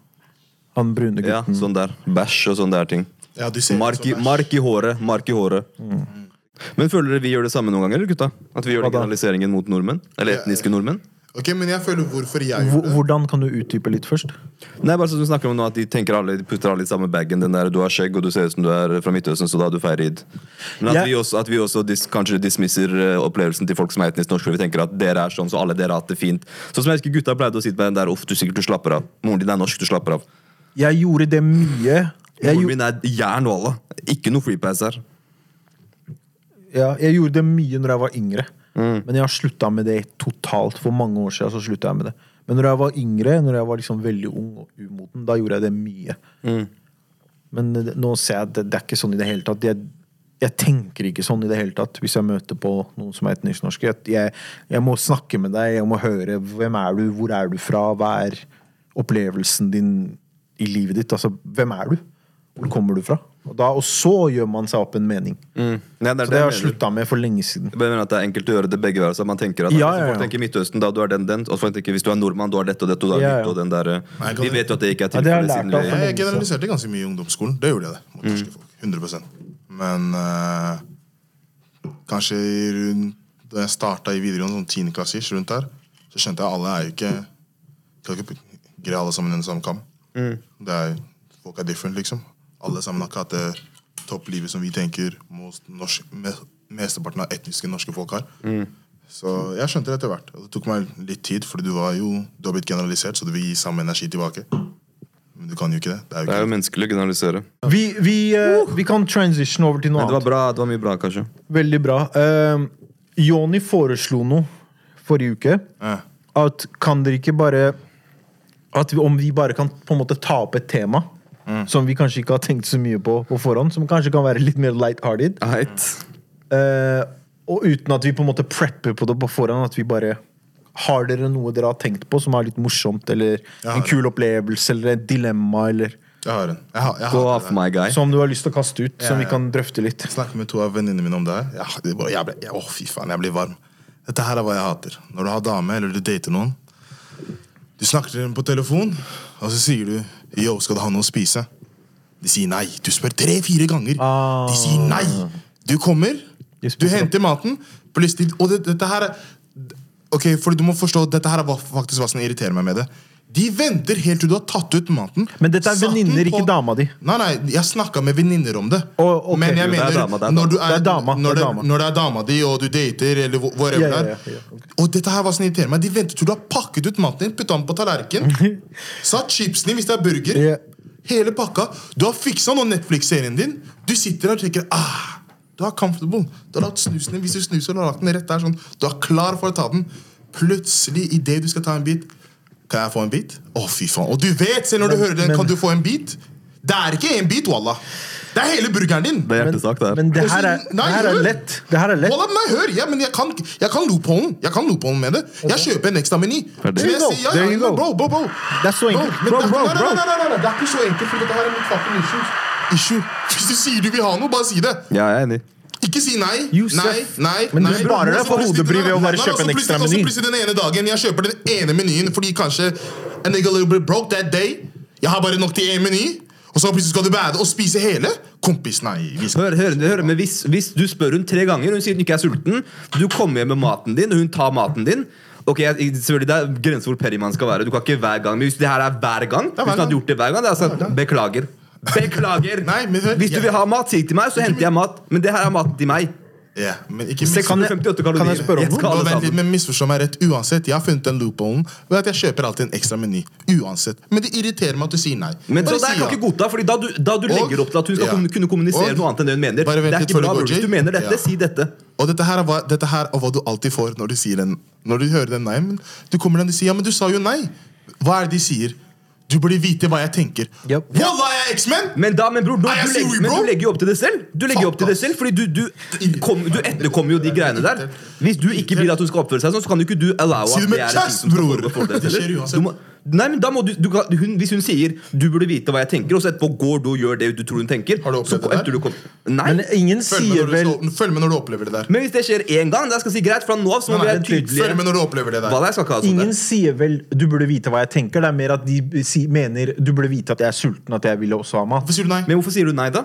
Han brune gutten.
Ja, sånn der. Bæsj og sånne der ting.
ja, de ser
Mark i,
sånn,
mark i håret. Mark i håret. Men føler dere vi gjør det samme noen ganger, eller gutta? At vi gjør den
da?
generaliseringen mot nordmenn? Eller etniske nordmenn?
Ok, men jeg føler hvorfor jeg
Hvor-
gjorde det.
Hvordan kan du utdype litt først?
Nei, bare sånn du snakker om nå at De tenker alle, de putter alle i samme bagen. Den der, du har skjegg og du ser ut som du er fra Midtøsten, så da har du feirer id. Men at
Jeg-
vi også, at vi også dis, kanskje dismisser eh, opplevelsen til folk som er etnisk norske. for Vi tenker at dere er sånn, så alle dere har hatt det fint. Sånn som jeg husker gutta pleide å si til meg den der, uff, du sikkert du slapper av. Moren din er norsk, du slapper av.
Jeg gjorde det mye. Jeg
Moren
gjorde,
min er jern, walla. Ikke noe freepass her.
ja, jeg gjorde det mye når jeg var yngre. Men jeg har slutta med det totalt. For mange år siden så sluttet jeg med det. Men når jeg var yngre, når jeg var liksom veldig ung og umoden, da gjorde jeg det mye. Men eh, nå ser jeg at det, det er ikke sånn i det hele tatt. Jeg, jeg tenker ikke sånn i det hele tatt hvis jeg møter på noen som er etnisk norske. Jeg, jeg, jeg må snakke med deg, jeg må høre hvem er du, hvor er du fra, hva er opplevelsen din i livet ditt. Altså, hvem er du? Hvor kommer du fra? Og, da, og så gjør man seg opp en mening.
Nei, det
Så
er
det har jeg
jeg mener.
slutta med for lenge siden.
Jeg mener at det er enkelt å gjøre det begge veier. så Man tenker at
Ja,
altså,
ja, ja.
folk tenker Midtøsten, da du er den, den. Og folk tenker hvis du er nordmann, du er dette og dette. Og du er
Ja, ja.
ditt og den der. eh,
Nei, kan
Vi
du-
vet jo at det ikke er
Ja, det har jeg
tilfellet
lært
siden
av.
vi
Jeg generaliserte ganske mye i ungdomsskolen. Det gjorde jeg det.
Mm.
mot norske folk. 100 Men eh, kanskje rundt da jeg starta i videregående, sånn tiendeklassisk, rundt der, så skjønte jeg at alle er jo ikke Kan ikke greie alle sammen under samme kam. Det er, folk er different, liksom. Alle sammen har ikke hatt det topplivet som vi tenker most norsk, me, mesteparten av etniske norske folk har. Så jeg skjønte det etter hvert. Og Det tok meg litt tid, fordi du var jo Du har blitt generalisert, så du vil gi samme energi tilbake. Men du kan jo ikke det. Det er jo
Det
ikke
er jo menneskelig å generalisere.
Vi, vi, eh, vi kan transition over til noe
Men det
annet.
var bra, det var mye bra, kanskje.
Veldig bra. Eh, Joni foreslo noe forrige uke.
Ja.
At kan dere ikke bare At vi, om vi bare kan på en måte ta opp et tema som vi kanskje ikke har tenkt så mye på på forhånd, som kanskje kan være litt mer light-hearted.
Heit.
Eh, og uten at vi på en måte prepper på det på forhånd. At vi bare Har dere noe dere har tenkt på som er litt morsomt, eller
Ja,
en
det.
kul opplevelse, eller et dilemma, eller
Jeg har en. Jeg har, jeg
Go
hater
off
det. sånn
my guy.
som du har lyst til å kaste ut, som
Ja,
vi
ja.
kan drøfte litt?
Jeg snakker med to av venninnene mine om det her. Jeg, det er bare, jeg ble, jeg, å, fy faen, jeg blir varm. Dette her er hva jeg hater. Når du har dame, eller du dater noen, du snakker til dem på telefon, og så sier du Yo, skal du ha noe å spise? De sier nei. Du spør tre-fire ganger.
Ah.
De sier nei. Du kommer,
De
du
spiser
henter maten, plutselig Og det, dette her er Ok, for du må forstå, dette her er hva- faktisk hva som irriterer meg med det. De venter helt til du har tatt ut maten.
Men dette er
satt den
venninner, ikke
på-
dama di.
Nei, nei, jeg snakka med venninner om det.
Å, ok.
Men jeg
Jo, det er
mener
dama, det er dama.
når, du
Det er dama,
når,
det er
det,
dama.
når det er dama di, og du dater, eller hvor-
Ja,
whatever
ja,
det er.
ja, ja,
Og dette her var som irriterer meg. De venter til du har pakket ut maten din, putta den på tallerkenen, satt chipsen i hvis det er burger,
Ja.
hele pakka. Du har fiksa nå Netflix-serien din. Du sitter der og tenker ah, Du er comfortable. Du har lagt snusen din hvis du snuser, du har lagt den rett der sånn. Du er klar for å ta den. Plutselig, idet du skal ta en bit Kan jeg få en bit? Å, fy faen. Og du vet, selv når du
Men-
hører den,
men-
kan du få en bit? Det er ikke én bit, wallah. Det er hele burgeren din.
Det er hjertesak, det her.
Men det
Og så-
her er, det
Nei,
her er
hør.
lett. Det her er lett.
Wallah, nei, hør, ja, men jeg kan, jeg kan loopholen. Jeg kan loopholen med det. Jeg kjøper en ekstra meny.
Ferdig.
There
Så jeg
you go.
sier, ja,
There
ja,
you
men
go.
Bro, bro, bro.
Det er så enkelt.
men
Bro,
det er-
bro,
nei, nei,
bro.
Nei, nei, nei, nei, det er ikke så enkelt, for dette her er mitt fucking issue. issue. Hvis du sier du vil ha noe, bare si det.
Ja, jeg er enig.
Ikke si nei.
Josef.
Nei, nei,
Men du
nei.
sparer deg for
Også
hodebry
plutselig-
ved å bare
Nei, nei,
kjøpe en
også
ekstra
plutselig-
meny.
Også plutselig den ene dagen jeg kjøper den ene menyen fordi kanskje a nigga little bit broke that day. Jeg har bare nok til én meny. Og så plutselig skal du bade og spise hele? Kompis, nei. Vi skal
Hør, hør, hør men hvis, hvis du spør hun tre ganger, hun sier hun ikke er sulten, du kommer hjem med maten din, og hun tar maten din Ok, jeg, selvfølgelig Det er grenser hvor perry man skal være. Du kan ikke hver gang, Men hvis det her er hver gang Hvis
hver
du hadde
gang.
gjort det hver gang, det er sånn Beklager. Beklager!
Nei, men hør,
hvis du
jeg-
vil ha mat, si til meg, så henter jeg mat. Men det her er maten til meg.
Ja, men ikke
Se, kan jeg- 658 kalorier.
kan jeg spørre om noe?
skal
Nå,
alle
vent litt,
sammen.
men misforstå meg rett. Uansett, jeg har funnet den loopholen ved at jeg kjøper alltid en ekstra meny. Uansett. Men det irriterer meg at du sier nei.
Men så
Bare
der
si
kan
ja.
ikke godta, fordi da du, da du
Og-
legger opp til at hun skal
ja.
kunne- kunne kommunisere
Og-
noe annet enn det hun mener.
Bare vent
det er
litt
ikke
før du
bra,
går,
bror. Hvis
Jay.
du mener dette,
Ja.
si dette.
Og dette her, er hva, dette her er hva du alltid får når du sier den Når du hører den nei, men du kommer den og sier ja, men du sa jo nei. Hva er det de sier? Du burde vite hva jeg tenker.
Yep.
Wallah, jeg er eksmenn!
Men da, men bror, nå,
Nei, jeg
du,
sier
legger,
jo,
men
bro.
du legger jo opp til det selv. Du legger jo opp til det selv, fordi du, du, kom, du etterkommer jo de greiene der. Hvis du ikke vil at hun skal oppføre seg sånn, så kan jo ikke du allow at
Sier du med
det er en ting som
kjæresten,
skal
bror?
foregå for deg
Det skjer
selv.
uansett.
Du må- Nei, men da må du, du kan, hun, Hvis hun sier 'du burde vite hva jeg tenker', og så etterpå går du og gjør det du tror hun tenker
Har du
så
opplevd
ko-
det der?
etter du kom, Nei.
Men
Men,
ingen
Følg med,
sier
når
vel
du, så- følg med når du opplever det der.
hvis det skjer én gang, da skal jeg si greit, fra nå av så må vi
Nei,
være
vent litt.
Følg med
tydelige.
når du opplever altså, det der.
Hva det er, jeg skal ikke ha sånn
Ingen
der.
sier vel 'du burde vite hva jeg tenker'. Det er mer at de si, mener 'du burde vite at jeg er sulten', at jeg ville også ha mat.
Hvorfor sier du nei?
Men hvorfor sier du nei, da?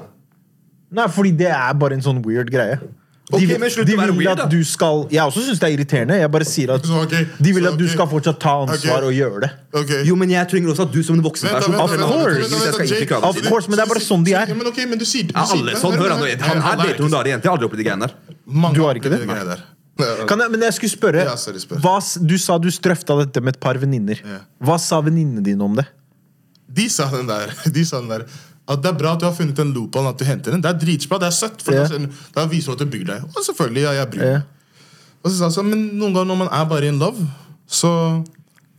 Nei, fordi det er bare en sånn weird greie. De,
Ok,
vil-
men slutt
de
å være
vil
weird, da.
at du skal Jeg også syns det er irriterende. Jeg bare sier at
Så, ok,
de vil
så,
at du
ok.
skal fortsatt ta ansvar
Ok.
og gjøre det.
Ok.
Jo, men jeg trenger også at du som en voksen
Vent da,
person
vent
anerkjenner
da, vent da,
hva du
vent da,
trenger, så jeg skal
vent da,
ikke
Jay.
krave
Of
til det.
course, men det er bare sånn de
Ja,
er.
men ok, men du sier, du
Ja,
sier-
alle
men-
sånn,
men-
hør Han
men-
han her
alle er
dater noen
ikke-
rare jenter. Jeg har aldri opplevd de greiene der.
Mange
Du har ikke det?
opplevde greier der.
Kan jeg, men jeg skulle spørre.
Ja, sorry, spør.
Hva, s- du sa du strøfta dette med et par venninner.
Ja.
Hva sa venninnene dine om det?
De sa den der, de sa den der at det er bra at du har funnet en loophole, at du henter den. Det er dritsbra, det er søtt. For
Ja.
da skjønner- Da viser du at du bryr deg. Og selvfølgelig, ja, jeg bryr meg.
Ja.
Og så sa han sånn, men noen ganger når man er bare in love, så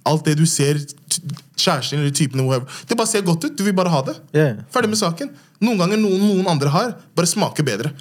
alt det du ser, t- kjæresten eller typen, whoever, det bare ser godt ut. Du vil bare ha det.
Ja.
Ferdig med saken. Noen ganger noen, noen andre har, bare smaker bedre.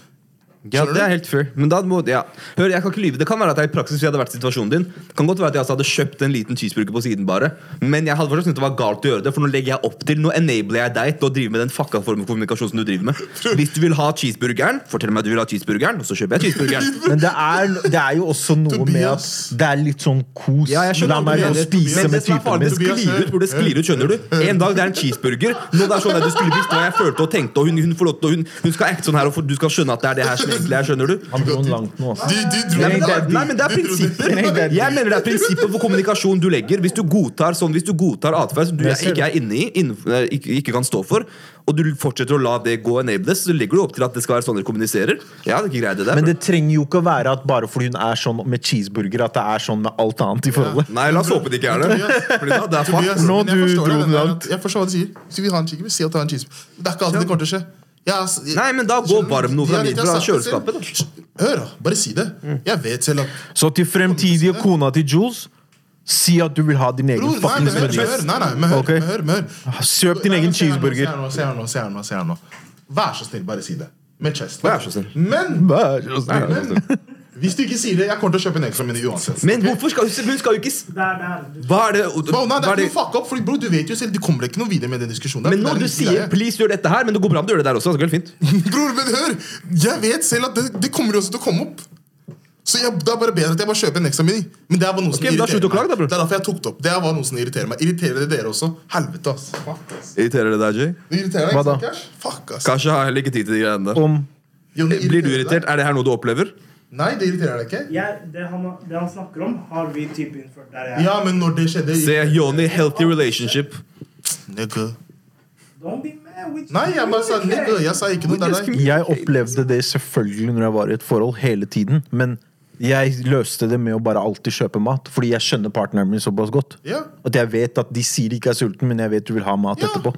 Ja, det er helt fair. Men da må, ja. Hør, jeg kan ikke lyve. Det kan være at jeg i praksis jeg hadde vært i situasjonen din. Det kan godt være at jeg altså hadde kjøpt en liten cheeseburger på siden bare. Men jeg hadde fortsatt syntes det var galt å gjøre det, for nå legger jeg opp til Nå enabler jeg deg til å drive med den fucka formen for kommunikasjon som du driver med. Hvis du vil ha cheeseburgeren, fortell meg at du vil ha cheeseburgeren, og så kjøper jeg cheeseburgeren.
Men det er, det er jo også noe med at
Tobias.
det er litt sånn kos.
Ja, jeg
La
skjønner
meg
hva du
gå og
mener.
spise
Men
med
det som er
typen
farlig, det
min.
eh,
sklir ut hvor det sklir ut, skjønner du. En dag det er en cheeseburger. Nå det er sånn at du skulle visst hva jeg følte og tenkte, og hun, hun får lov til å- hun, hun skal acte sånn her, og for- du skal skjønne at det er det her som egentlig er, skjønner du?
Han dro den langt nå, altså.
De, de dro
Nei, men det er, nei, men det er
de dro det.
prinsipper.
Nei, det er-
Jeg mener det er prinsipper for kommunikasjon du legger. Hvis du godtar sånn, hvis du godtar atferd som du
Men jeg ser
ikke er inne i, innenfor- eh, ikke, ikke kan stå for, og du fortsetter å la det gå enables, så legger du opp til at det skal være sånn dere kommuniserer. Ja, det er ikke greit det der.
Men det trenger jo ikke å være at bare fordi hun er sånn med cheeseburger, at det er sånn med alt annet i forholdet.
Nei, la oss håpe det ikke er det. Fordi da, det er fuck.
Tobias,
Nå
men jeg
du
forstår
dro
det,
den
der
langt.
at- Jeg forstår hva du sier. Hvis vi har en cheeseburger, si at du har en cheeseburger. Det er ikke alltid det kommer til å skje. Jeg er- jeg-
Nei, men da gå
skjønner du?
varm noe fra
Jeg vet,
min-
jeg
fra
har sagt det
kjøleskapet, Mm.
selv. Hør, da. Bare si det. Jeg vet selv at
Så til fremtidige kona til Jules, si at du vil ha din egen
Bror, nei,
fuckings
men hør,
burger.
hør, nei, nei, men hør,
Ok.
men hør, men hør.
Kjøp din
Nei, men
egen
se her nå,
cheeseburger.
se her nå, Se her nå, se her nå, se her nå. Vær så snill, bare si det. Med chest.
Vær så snill.
Men
Vær så snill.
hvis du ikke sier det, jeg kommer til å kjøpe en ekstra mini uansett.
Men hvorfor skal hun skal jo ikke s-
Der, der.
Hva er det,
Bro,
hva er
nei, det er
det
ikke noe fuck up, fordi bro, du vet jo selv, du kommer deg ikke noe videre med den diskusjonen. der,
Men
for
når du
det er en liten
sier
greie.
'please, gjør dette her', men det går bra om du gjør det der også. Det går helt fint.
Bror, men hør! Jeg vet selv at det, det kommer også til å komme opp. Så jeg, Det er bare bedre at jeg bare kjøper en ekstra mini. Men det er bare noe som
Ok, men da slutt å
irriterer
klage da,
meg.
bror.
det er derfor jeg tok det opp. Det er bare noe som irriterer meg. Irriterer det dere også? Helvete, ass. Fuck, ass.
Irriterer det deg, Jay?
Det irriterer deg,
Hva
ikke
da?
sant, Cash? Fuck, ass.
Kanskje har jeg heller ikke tid til de greiene der.
Om
Jo, det
Blir du irritert?
irriterer deg.
Er det her noe du opplever?
Nei, det irriterer deg ikke.
Jeg, det, han, det han snakker om, har vi type innført der jeg er.
Ja, men når det skjedde
Se, Joni, healthy relationship.
Nigga.
Don't be mad with
Nei, jeg bare sa nigga. Jeg sa ikke noe. Det er deg.
Jeg opplevde det selvfølgelig når jeg var i et forhold hele tiden, men jeg løste det med å bare alltid kjøpe mat, fordi jeg skjønner partneren min såpass godt.
Ja.
At jeg vet at de sier de ikke er sulten, men jeg vet du vil ha mat
Ja. Mm.
etterpå.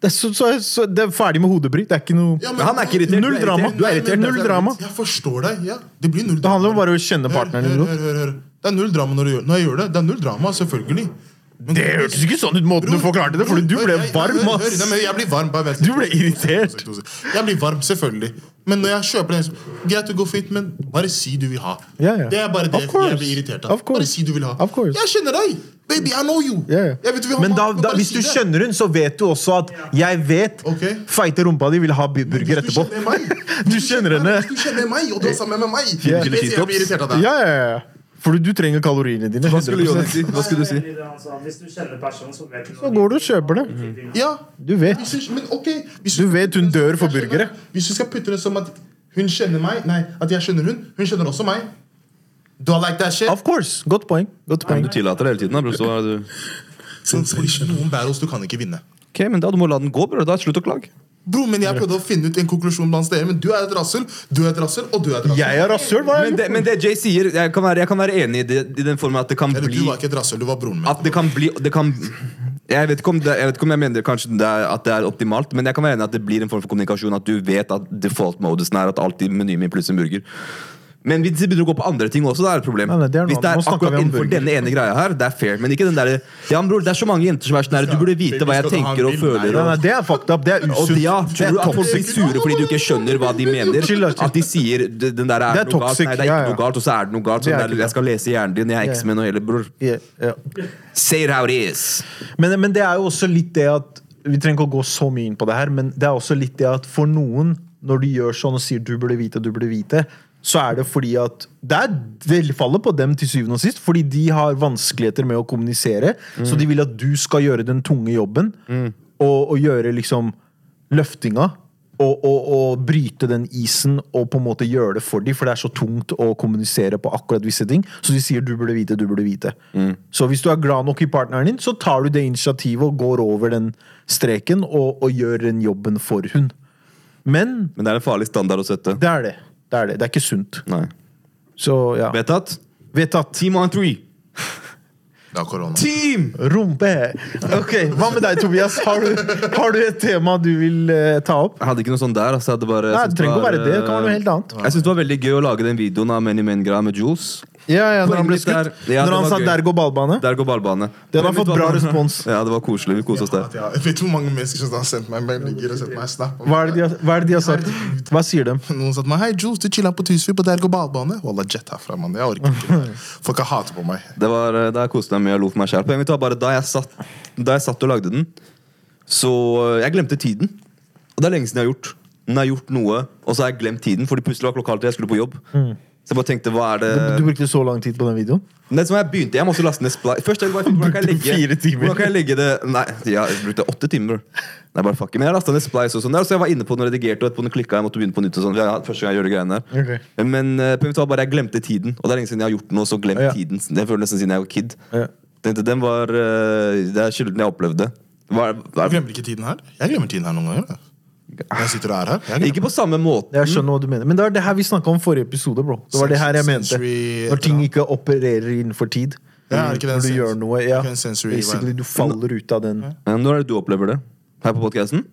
Det er, så, så, så, det er ferdig med hodebry. Det er ikke noe
Ja,
Men han er ikke irritert. altså.
Null
du er
drama.
irritert. Du er irritert.
Null drama.
Jeg forstår deg. ja. Det blir null
Det handler om bare å kjenne
Hør,
partneren din
hør,
godt.
hør, hør, hør. Det er null drama når, du gjør, når jeg gjør det. Det er null drama, selvfølgelig. Men-
Det hørtes ikke sånn ut måten du
Bror,
forklarte det, fordi du
bror,
ble
hør, jeg-
varm,
hør, hør.
ass.
Nei, men Jeg blir varm. Bare vent.
Du ble irritert.
Jeg blir varm, selvfølgelig. Men når jeg kjøper den, så- greit å gå fint, men bare si du vil ha.
Ja, ja.
Det er bare det
Of course.
jeg blir irritert av.
Of course.
Bare si du vil ha.
Of course.
Jeg kjenner deg! Baby, I know you.
Ja, ja.
Jeg vet du vil ha
Men da,
mat,
da,
bare
hvis
si
du
det.
skjønner hun, så vet du også at jeg vet
Ok.
feite rumpa di vil ha bu- burger
Hvis
etterpå.
Du kjenner meg.
Du kjenner henne.
Hvis Du kjenner meg, og du er sammen med meg.
Ja.
Du vet jeg blir irritert av deg.
Ja, ja, ja. Fordi du trenger kaloriene dine.
Hva skulle
100%.
Joni si? Hva skulle du si?
Nei, jeg er enig i det han sa. Hvis du kjenner personen, så vet du
Så går du og kjøper det.
Ja.
Du vet.
Hvis du, men ok hvis
Du vet hun dør for burgere.
Hvis du skal putte det som at hun kjenner meg Nei, at jeg skjønner hun. Hun skjønner også meg. Do I like that shit?
Of course. Godt poeng. Godt
Men
poeng.
du tillater det hele tiden. da, Bro, så er du...
Noen battles du kan ikke vinne.
Ok, men da, Du må la den gå, bror. Da er det slutt å klage.
Bro, men Jeg prøvde å finne ut en konklusjon blant dere, men du er et rasshøl, du er et rasshøl, og du er et rasshøl.
Jeg er rasshøl, hva har
Men
jeg
det,
gjort?
men det Jay sier, jeg kan være, jeg kan være enig i det i den formen at det kan
Eller du
bli
var ikke et rasshøl, du var broren min.
At det kan bli det kan, jeg, vet ikke om det, jeg vet ikke om jeg mener kanskje det er, at det er optimalt, men jeg kan være enig i at det blir en form for kommunikasjon. At du vet at default-modusen er at alt i menyen min pluss en burger. Men hvis det begynner å gå på andre ting også, da er det et problem.
Nei, nei, det er noe
hvis det er
annet. Nå snakker
akkurat
vi om
innenfor
burger.
denne ene greia her, det er fair. Men ikke den derre Ja, men bror, det er så mange jenter som er sånn her, du burde vite hva jeg
Skal du ha en
tenker og
bild?
føler.
Nei,
og
nei, det er fucked up. Det er
og
usunt.
ja,
Det
tror
er
du at folk blir
toxic.
sure fordi du ikke skjønner hva de mener?
Chill, da, chill.
At de sier "D- den der er,
Det er
noe galt,
toxic,
nei, det er
ja,
ikke
ja.
noe galt, og så er det noe galt.
Det er
Sånn
ikke
der, jeg skal lese hjernen din, jeg er
Ja.
eksmenn og hele bror.
Ja, ja.
Say it how it is.
Men, men det er jo også litt det at Vi trenger ikke å gå så mye inn på det her, men det er også litt det at for noen, når de gjør sånn og sier 'du burde vite', 'du burde vite', så er det fordi at det er velfallet på dem til syvende og sist, fordi de har vanskeligheter med å kommunisere, så de vil at du skal gjøre den tunge jobben, og, og gjøre liksom løftinga. Og, og, og bryte den isen og på en måte gjøre det for dem, for det er så tungt å kommunisere på akkurat visse ting. Så de sier 'du burde vite', 'du burde vite'.
Mm.
Så hvis du er glad nok i partneren din, så tar du det initiativet og går over den streken og, og gjør den jobben for hun. Men
Men det er en farlig standard å sette.
det er det. Det er det. Det er ikke sunt.
Nei.
Så ja.
Vedtatt?
Vedtatt.
Team on three.
Det er korona.
Team!
Rumpe. Ok, Hva med deg, Tobias? Har du, har du et tema du vil eh, ta opp?
Jeg hadde ikke noe sånt der. Altså, jeg hadde bare, jeg
Nei,
synes
det trenger ikke å
var,
være det. Det kan være noe helt
eh,
annet.
Jeg syns det var veldig gøy å lage den videoen av Many Men-greia med Jules.
Ja, ja, når
Poenget
han ble
mitt er-
skutt.
Ja, det
når han
var
sa
gøy.
'der går ballbane'.
Der går ballbane.
Den har
Men vet
fått
du hva?
bra respons.
Ja, det var koselig. Vi koste oss der.
At jeg- Jeg vet hvor mange mennesker som har sendt meg meldinger og sendt meg snap.
Hva er, det de har, hva er det de har sagt? Hva sier de?
Noen sa til meg 'Hei, Jules, du chilla på Tusfjord på Dergo ballbane'. Wallah, jet herfra, mann. Jeg orker ikke. Folk hater på meg.
Det var, eh, der koste jeg meg mye. Jeg lo for meg sjæl. Poenget mitt var bare da jeg, satt, da jeg satt og lagde den, så eh, Jeg glemte tiden. Og det er lenge siden jeg har gjort. Men jeg har gjort noe, og så har jeg glemt tiden, fordi plutselig var klokka halv tre. Jeg skulle på jobb. Så jeg bare tenkte, hva er det
Eh,
Du brukte så lang tid på den videoen?
Men som jeg begynte, jeg måtte laste ned Splice Først tenkte jeg bare, hvordan kan jeg legge
Fire timer.
Hvordan kan jeg legge det Nei, jeg brukte åtte timer Nei, bare fuck it. Men jeg lastet ned Splice og sånn der, Så jeg var inne på den og redigerte Og etterpå den klikket jeg måtte begynne på nytt og sånn for jeg- Første gang jeg gjør de greiene der
Ok.
Men eh, poenget var bare jeg glemte tiden Og det er lenge siden jeg har gjort noe Så glemt
Ja.
tiden Jeg føler nesten siden jeg var kid
Ja.
Tenkte, den var eh, Det er skylden jeg opplevde hva, er- hva,
Jeg
er-
glemmer ikke tiden her. Jeg glemmer tiden her noen ganger. da. Når jeg sitter og er her. Jeg glemmer.
Ikke på samme måte
Jeg skjønner hva du mener. Men det var det her vi snakka om forrige episode, bro. Det var det her jeg mente.
Sensory-
Når ting ikke opererer innenfor tid.
Ja, er det ikke den
Når du
sens-
gjør noe. Ja.
er ikke den sensory-
Basically, du faller ut av den.
Eh, Når er det du opplever det? Her på podcasten?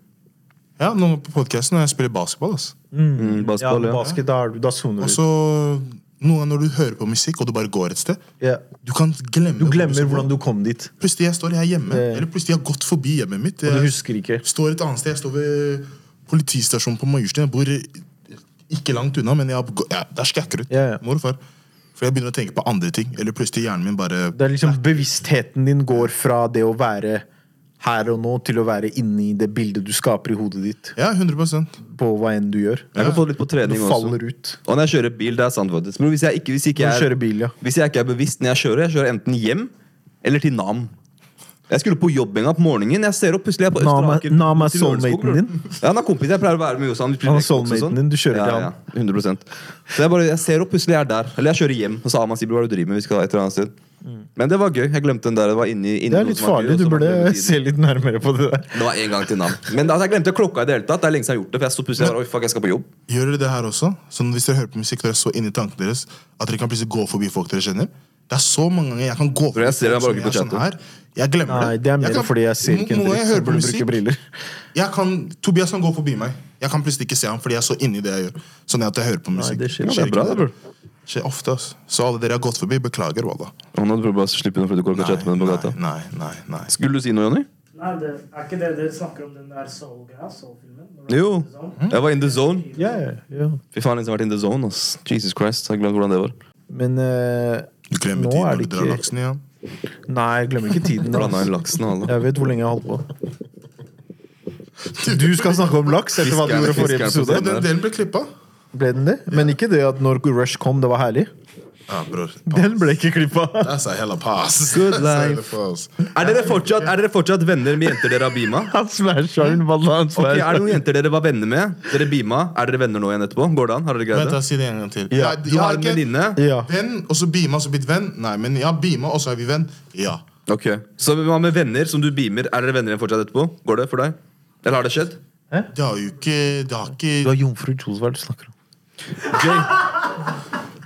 Ja, nå på podcasten når jeg spiller basketball. ass.
Mm,
Ja,
basketball, ja
basket, da, er du, da soner
Og
du. ut.
så noen ganger når du hører på musikk, og du bare går et sted,
Ja.
du kan glemme
Du glemmer hvordan du kom dit.
Plutselig jeg står jeg er hjemme,
Ja.
eller plutselig jeg har gått forbi hjemmet mitt.
Og du
Jeg
husker ikke.
står et annet sted. Jeg står ved politistasjonen på Majorstuen. Jeg bor eh, ikke langt unna, men jeg har, gå- ja, der skal jeg akkurat.
Ja, ja.
Mor og far. For jeg begynner å tenke på andre ting. Eller plutselig hjernen min bare
Det er liksom Bevisstheten din går fra det å være her og nå til å være inni det bildet du skaper i hodet ditt.
Ja, 100
På hva enn du gjør.
Jeg kan få litt på
Du
trening også
faller ut.
Og når jeg kjører bil, det er sant faktisk. Men hvis jeg ikke, hvis ikke
Når du
jeg,
kjører bil, ja.
hvis jeg ikke er bevisst når jeg kjører, jeg kjører enten hjem eller til Nam. Jeg skulle på jobb en gang på morgenen. Jeg ser opp plutselig jeg er på
Nam er-
Østeraker,
Nam er
til Lørenskog,
soulmaten
bror.
din?
Ja, han er kompis. Jeg pleier å være med Josan. vi spiller
Han er
Xbox og
soulmaten
sånn.
din, du kjører til
ja,
han.
Ja, 100 Så jeg, bare, jeg ser opp plutselig jeg er der. Eller jeg kjører hjem, og så Aman sier "Bro, hva er det du driver med. Vi skal et eller annet sted. Men det var gøy. Jeg glemte den der. Det var inni, inni
Mm. Det er
noe
litt
som var gøy,
farlig.
og
Du
så var det
burde
tiden.
se litt nærmere på det der.
Det var en gang til Nam. Men altså, jeg glemte klokka i det hele tatt. Det er lenge siden jeg har gjort det. For jeg sto plutselig og bare, Oi, fuck, jeg skal på jobb.
Gjør dere det her også? Sånn hvis dere hører på musikk, dere er så inni tankene deres at dere kan plutselig gå forbi folk dere kjenner. Det er så mange ganger jeg kan gå forbi
jeg ser
folk
deg bare
som
ikke
sånn
på chatten.
her. Jeg glemmer
Nei, det er mer
Jeg kan-
fordi jeg ser ikke en
Noen ganger
dritt.
jeg hører
Jeg
på
burde
musikk,
bruke briller.
Jeg kan, Tobias kan gå forbi meg. Jeg kan plutselig ikke se ham fordi jeg er så inni det jeg gjør. Sånn at jeg hører på musikk.
det skjer.
Ja, det er
ikke
bra, det, bror.
skjer ofte, ass. Så alle dere har gått forbi, beklager, wallah.
Nå hadde du prøvd å slippe unna fordi du går og chatter med den på
nei,
gata.
nei, nei, nei.
Skulle du si noe, Jonny?
Nei, det er ikke det dere snakker om den der soul-greia? Soul-filmen? Når det er
Jo. Mm.
sånn.
Jeg var in the zone.
Ja, ja, ja.
Fy faen, liksom jeg har vært in the zone, ass. Jesus Christ, jeg har glemt hvordan det var.
Men eh,
Du glemmer
nå
tiden
er
når
det
du drar
ikke
laksen igjen.
Nei, jeg glemmer ikke tiden.
Blanda
Altså.
inn laksen og alle.
Jeg vet hvor lenge jeg har holdt på. Du skal snakke om laks etter hva du gjorde i forrige
Ja,
Sånn,
episode.
den delen ble klippa.
Ble den det? Men ikke det at når Rush kom, det var herlig.
Ja, bror.
Den ble ikke klippa.
That's a hella pass.
Good
That's a hella
life.
pass.
Er dere fortsatt, er dere fortsatt venner med jenter dere har beama?
Han smasha den, Valla. Han
Ok, er
smasha
det noen jenter dere var venner med? Dere beama? Er dere venner nå igjen etterpå? Går det an? Har dere
Vent,
greid
da,
det?
si det en gang til.
Ja,
Jeg-
Du
jeg
har en
ikke
venninne?
Ja.
Venn, og så beama, og så blitt venn? Nei, men ja, beama, og så er vi venn? Ja.
Ok. Så hva med venner som du beamer? Er dere venner igjen fortsatt etterpå? Går det for deg? Eller har det skjedd?
Det har jo ikke Det har
Du
ikke
er jomfru Jules, hva er det du snakker om?
Jay.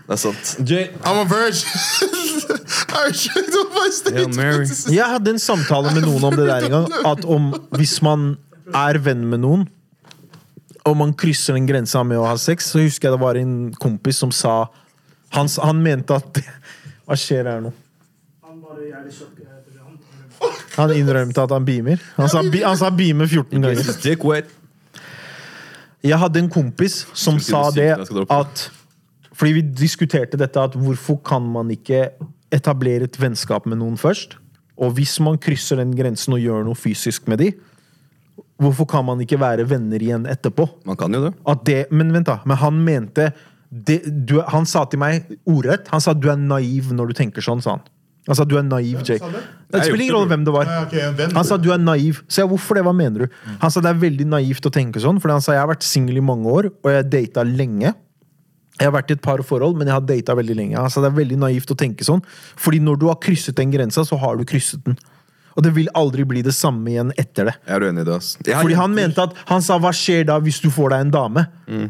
Det er sant. Jay.
I'm a virgin! I was tricked on my stage.
Hail Mary.
Jeg hadde en samtale med noen om det der en gang. At om hvis man er venn med noen, og man krysser den grensa med å ha sex, så husker jeg det var en kompis som sa Han, s- han mente at Hva skjer her nå?
Han bare jævlig sjokk. eh, tror jeg. Han-
Han innrømte at han beamer. Han sa, bi- han sa beamer 14 ganger.
Jesus, Dick wet.
Jeg hadde en kompis som
Jeg
sa
skulle si
det
det, jeg skal dra på.
at Fordi vi diskuterte dette at hvorfor kan man ikke etablere et vennskap med noen først? Og hvis man krysser den grensen og gjør noe fysisk med de, hvorfor kan man ikke være venner igjen etterpå?
Man kan jo det.
At det, men vent da, men han mente det, du, Han sa til meg ordrett Han sa du er naiv når du tenker sånn, sa han. Han sa du er naiv, Jay.
sa det?
Det spiller ingen rolle hvem det var.
Ja, ok, en venn.
Han sa du er naiv. Så jeg, hvorfor det? Hva mener du? Han sa det er veldig naivt å tenke sånn, fordi han sa jeg har vært singel i mange år, og jeg data lenge. Jeg har vært i et par forhold, men jeg har data veldig lenge. Han sa det er veldig naivt å tenke sånn, fordi når du har krysset den grensa, så har du krysset den. Og det vil aldri bli det samme igjen etter det.
Jeg er uenig i det, ass. Jeg har
Fordi
jenter-
han mente at Han sa hva skjer da hvis du får deg en dame?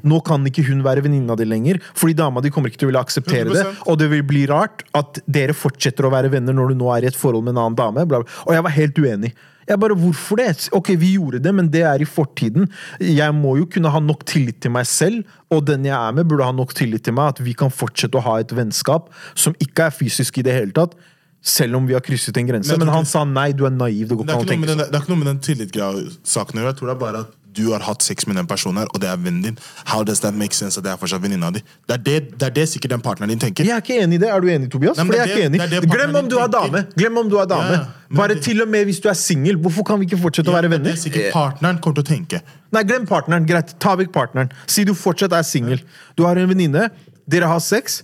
Nå kan ikke hun være venninna di lenger, fordi dama di kommer ikke til å ville akseptere det.
100%.
Og det vil bli rart at dere fortsetter å være venner når du nå er i et forhold med en annen dame. Bla, bla. Og jeg var helt uenig. Jeg bare, Hvorfor det? Ok, vi gjorde det, men det er i fortiden. Jeg må jo kunne ha nok tillit til meg selv, og den jeg er med, burde ha nok tillit til meg, at vi kan fortsette å ha et vennskap som ikke er fysisk i det hele tatt. Selv om vi har krysset en grense.
Men jeg
Men,
tror
han
ikke-
sa nei, du er naiv. Det går
Det
ikke an
er
å
ikke noe
tenke
med den,
sånn.
det er ikke noe med den tillitgreia-saken å gjøre. Jeg tror det er bare at du har hatt sex med den personen her, og det er vennen din. How does that make sense at det er fortsatt venninna di? Det er det, det er det sikkert den partneren din tenker.
Jeg er ikke enig i det. Er du enig, Tobias?
Nei, men
Fordi
det er
jeg er ikke
det-
enig.
det er det
Glem om
partneren
du er
tenker.
dame! Glem om du er dame.
Ja, ja. Men
Bare
det-
til og med hvis du er singel. Hvorfor kan vi ikke fortsette å være
men
venner?
Det er sikkert partneren kommer til å tenke.
Nei, glem partneren. Greit, ta vekk partneren. Si du fortsatt er singel. Du har en venninne, dere har sex.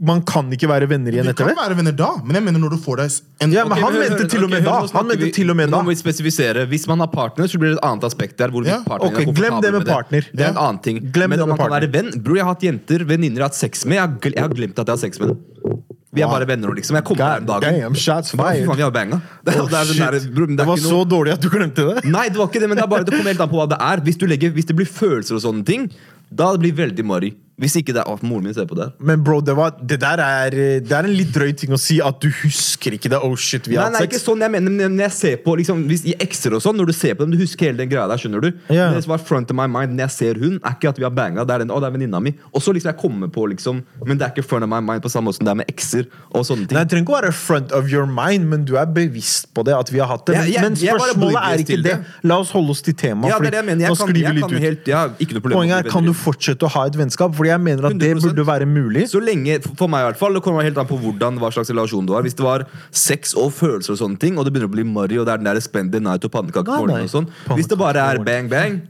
Man kan ikke være venner igjen
Vi
etter
kan
det.
være venner da, men jeg mener når du får deg s- en
Ja, men
Ok,
han
hør,
mente
hør,
til og
ok,
med
hør,
da.
nå snakker
Han mente
vi-
til og med
men
da.
Nå må vi spesifisere. Hvis man har partner, så blir det et annet aspekt der. hvor
Ja,
partneren
ok,
er
glem det med
komfortabel
partner.
Det. det er en
Ja.
annen ting.
Glem det
men om
med
man kan
partner.
være venn Bro, jeg har hatt jenter, venninner jeg har hatt sex med. Jeg har, gl jeg har glemt at jeg har sex med dem. Vi er bare venner nå, liksom. Jeg kommer her en dag.
damn, shots
Fy faen,
fired.
vi har banga. Det,
Å,
det er den der,
shit.
bro, men det er
Det var
ikke noe-
så dårlig at du glemte det.
Nei, det var ikke det, men det er bare det kommer helt an på hva det er. Hvis, du legger, hvis det blir følelser og sånne ting, da blir det veldig marry. Hvis ikke det er Å, moren min ser på det her.
Men bro, det, var, det der er eh, Det er en litt drøy ting å si at du husker ikke det. Oh shit, vi
Nei,
har
nei,
hatt
ikke
sex.
sånn jeg mener, men jeg ser på liksom, hvis, i ekser og sånn, når du ser på dem, du husker hele den greia der, skjønner du?
Ja.
Men Det som var front of my mind når jeg ser hun, er ikke at vi har banga, det er den, å, det er venninna mi. Og så liksom jeg kommer på, liksom, men det er ikke front of my mind på samme måte som det er med ekser og sånne ting.
Nei, Det trenger ikke å være front of your mind, men du er bevisst på det. at vi har hatt det Men,
Jeg- jeg-
men
jeg var
spørsmålet
oblivious
er ikke
til
det.
det.
La oss holde oss til temaet.
ja, det
fordi
er det jeg mener.
nå
Jeg kan,
sklir vi
jeg
litt
kan
ut.
helt, jeg har ikke noe problem med å
Poenget
bli
er, kan
venner.
du fortsette å ha et vennskap? Fordi jeg mener at det
100%.
burde være mulig.
Så lenge, for meg i hvert fall, Det kommer helt an på hvordan, hva slags relasjon du har. Hvis det var sex og følelser, og sånne ting Og det begynner å bli marry, og det er den der spend the night og pannekake på
Nei, nei.
morgenen og sånn Hvis det bare er bang, bang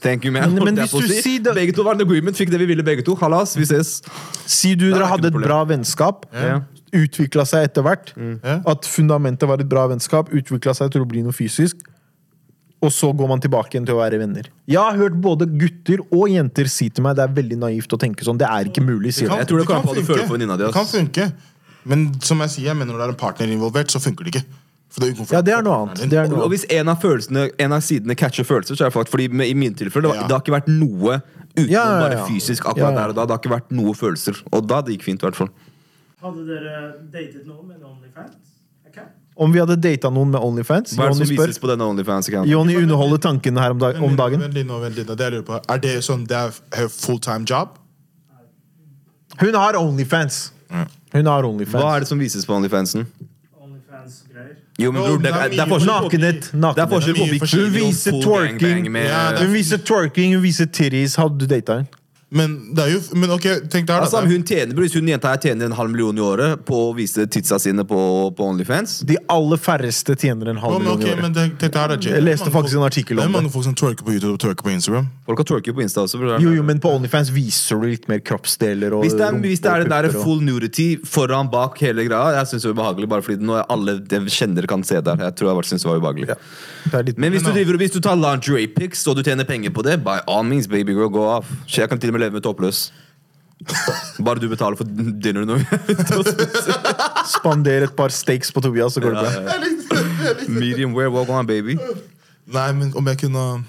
Thank you, man.
Men-
holdt
men
jeg
hvis
på å
du
si.
sier det-
Begge to var en agreement, fikk det vi ville begge to. Halas, vi ses.
Si
er
du dere
ikke
hadde
noe
et
problem. Mm.
bra vennskap,
Ja.
utvikla seg etter hvert.
Ja.
At fundamentet var et bra vennskap, utvikla seg til å bli noe fysisk. Og så går man tilbake igjen til å være venner. Jeg har hørt både gutter og jenter si til meg det er veldig naivt å tenke sånn. Det er ikke mulig, sier
kan-
de.
Jeg tror det kommer
kan
an på hva du
funke.
føler for venninna di,
Det
ass.
kan funke. Men som jeg sier, jeg mener når det er en partner involvert, så funker det ikke. For det er ukomfortabelt.
Ja, det er noe annet. Det er
Og,
noe
og
annet.
hvis en av, følelsene, en av sidene catcher følelser, så er det faktisk fordi med, i mine tilfeller det, var,
Ja.
det har ikke vært noe utenom
Ja, ja, ja.
bare fysisk
Ja,
akkurat
ja.
der og da. Det har ikke vært noe følelser. Og da det gikk fint, i hvert fall.
Hadde dere datet noen med en Onlyfans? Okay.
Om vi hadde data noen med Onlyfans
Hva er det
Jonny
som
spør.
vises på denne OnlyFans-accounten?
Jonny underholder tankene her om, dag om dagen.
Vent litt nå, vent litt nå. Det jeg lurer på, er det sånn det er full time job?
Hun har Onlyfans! Hun har
Hva
Onlyfans.
er det som vises på OnlyFansen?
Onlyfans-greier.
Jo, men
Bro,
bror, det,
det er
det er
mye
forskjell på-
Nakenhet.
Det er
nakenhet.
forskjell på
Det er mye
bikini
forskjell.
og
Viser
full
twerking.
gangbang med
Ja, det
Hun viser twerking, hun viser titties. Hadde du data henne?
Men det er jo Men ok, tenk der, da.
Altså, hun tjener, bror, Hvis hun jenta her tjener en halv million i året på å vise titsa sine på, på OnlyFans
De aller færreste tjener en halv
Jo, men
million
ok,
i året.
men tenk, tenk der, da, Jay.
Jeg leste
Det er mange
faktisk
folk-
en artikkel om
Det er mange
det.
folk som twerker på YouTube og twerker på Instagram.
Folk har twerker på Insta også. bror.
Jo, jo, men på Onlyfans viser du litt mer kroppsdeler og
Hvis det er,
rumpe
hvis det er
og
den der
pupper og-
full nudity foran, bak, hele greia Jeg synes det er ubehagelig, bare fordi nå er alle jeg kjenner kan se der. Jeg tror jeg bare synes det var ubehagelig.
Det er litt-
Men hvis du,
Men da-
driver, hvis du tar lingerie pics og du tjener penger på det, by all means, baby girl, go off. Shit, Jeg kan til og med leve med toppløs. Bare du betaler for dinner nå.
Spander et par steaks på Tobias, så går det bra.
Medium wear, walk on, baby.
Nei, men om jeg kunne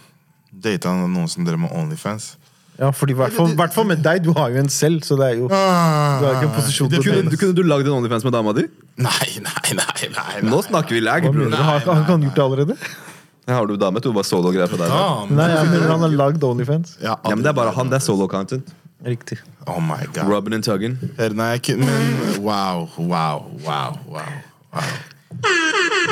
data noen som drev med Onlyfans
Ja, fordi hvert fall- hvert fall med deg, du har jo en selv, så det er jo Du har ikke en posisjon til å
Kunne, du- kunne du lagd en Onlyfans med dama di?
Ah. Nei, nei, nei, nei. nei.
Nå snakker vi lag,
Hva mener
bror.
du? Har han ikke han gjort det allerede?
Har du dame? Tror du bare solo-greier fra deg? da?
Damn.
Nei, jeg mener han har lagd Onlyfans.
Jeg har
Ja, men Det er bare han. Det er solo-content.
Riktig.
Oh my god.
Rubbing and tugging.
Her, Nei, jeg kunne Men wow, wow, wow. wow. wow.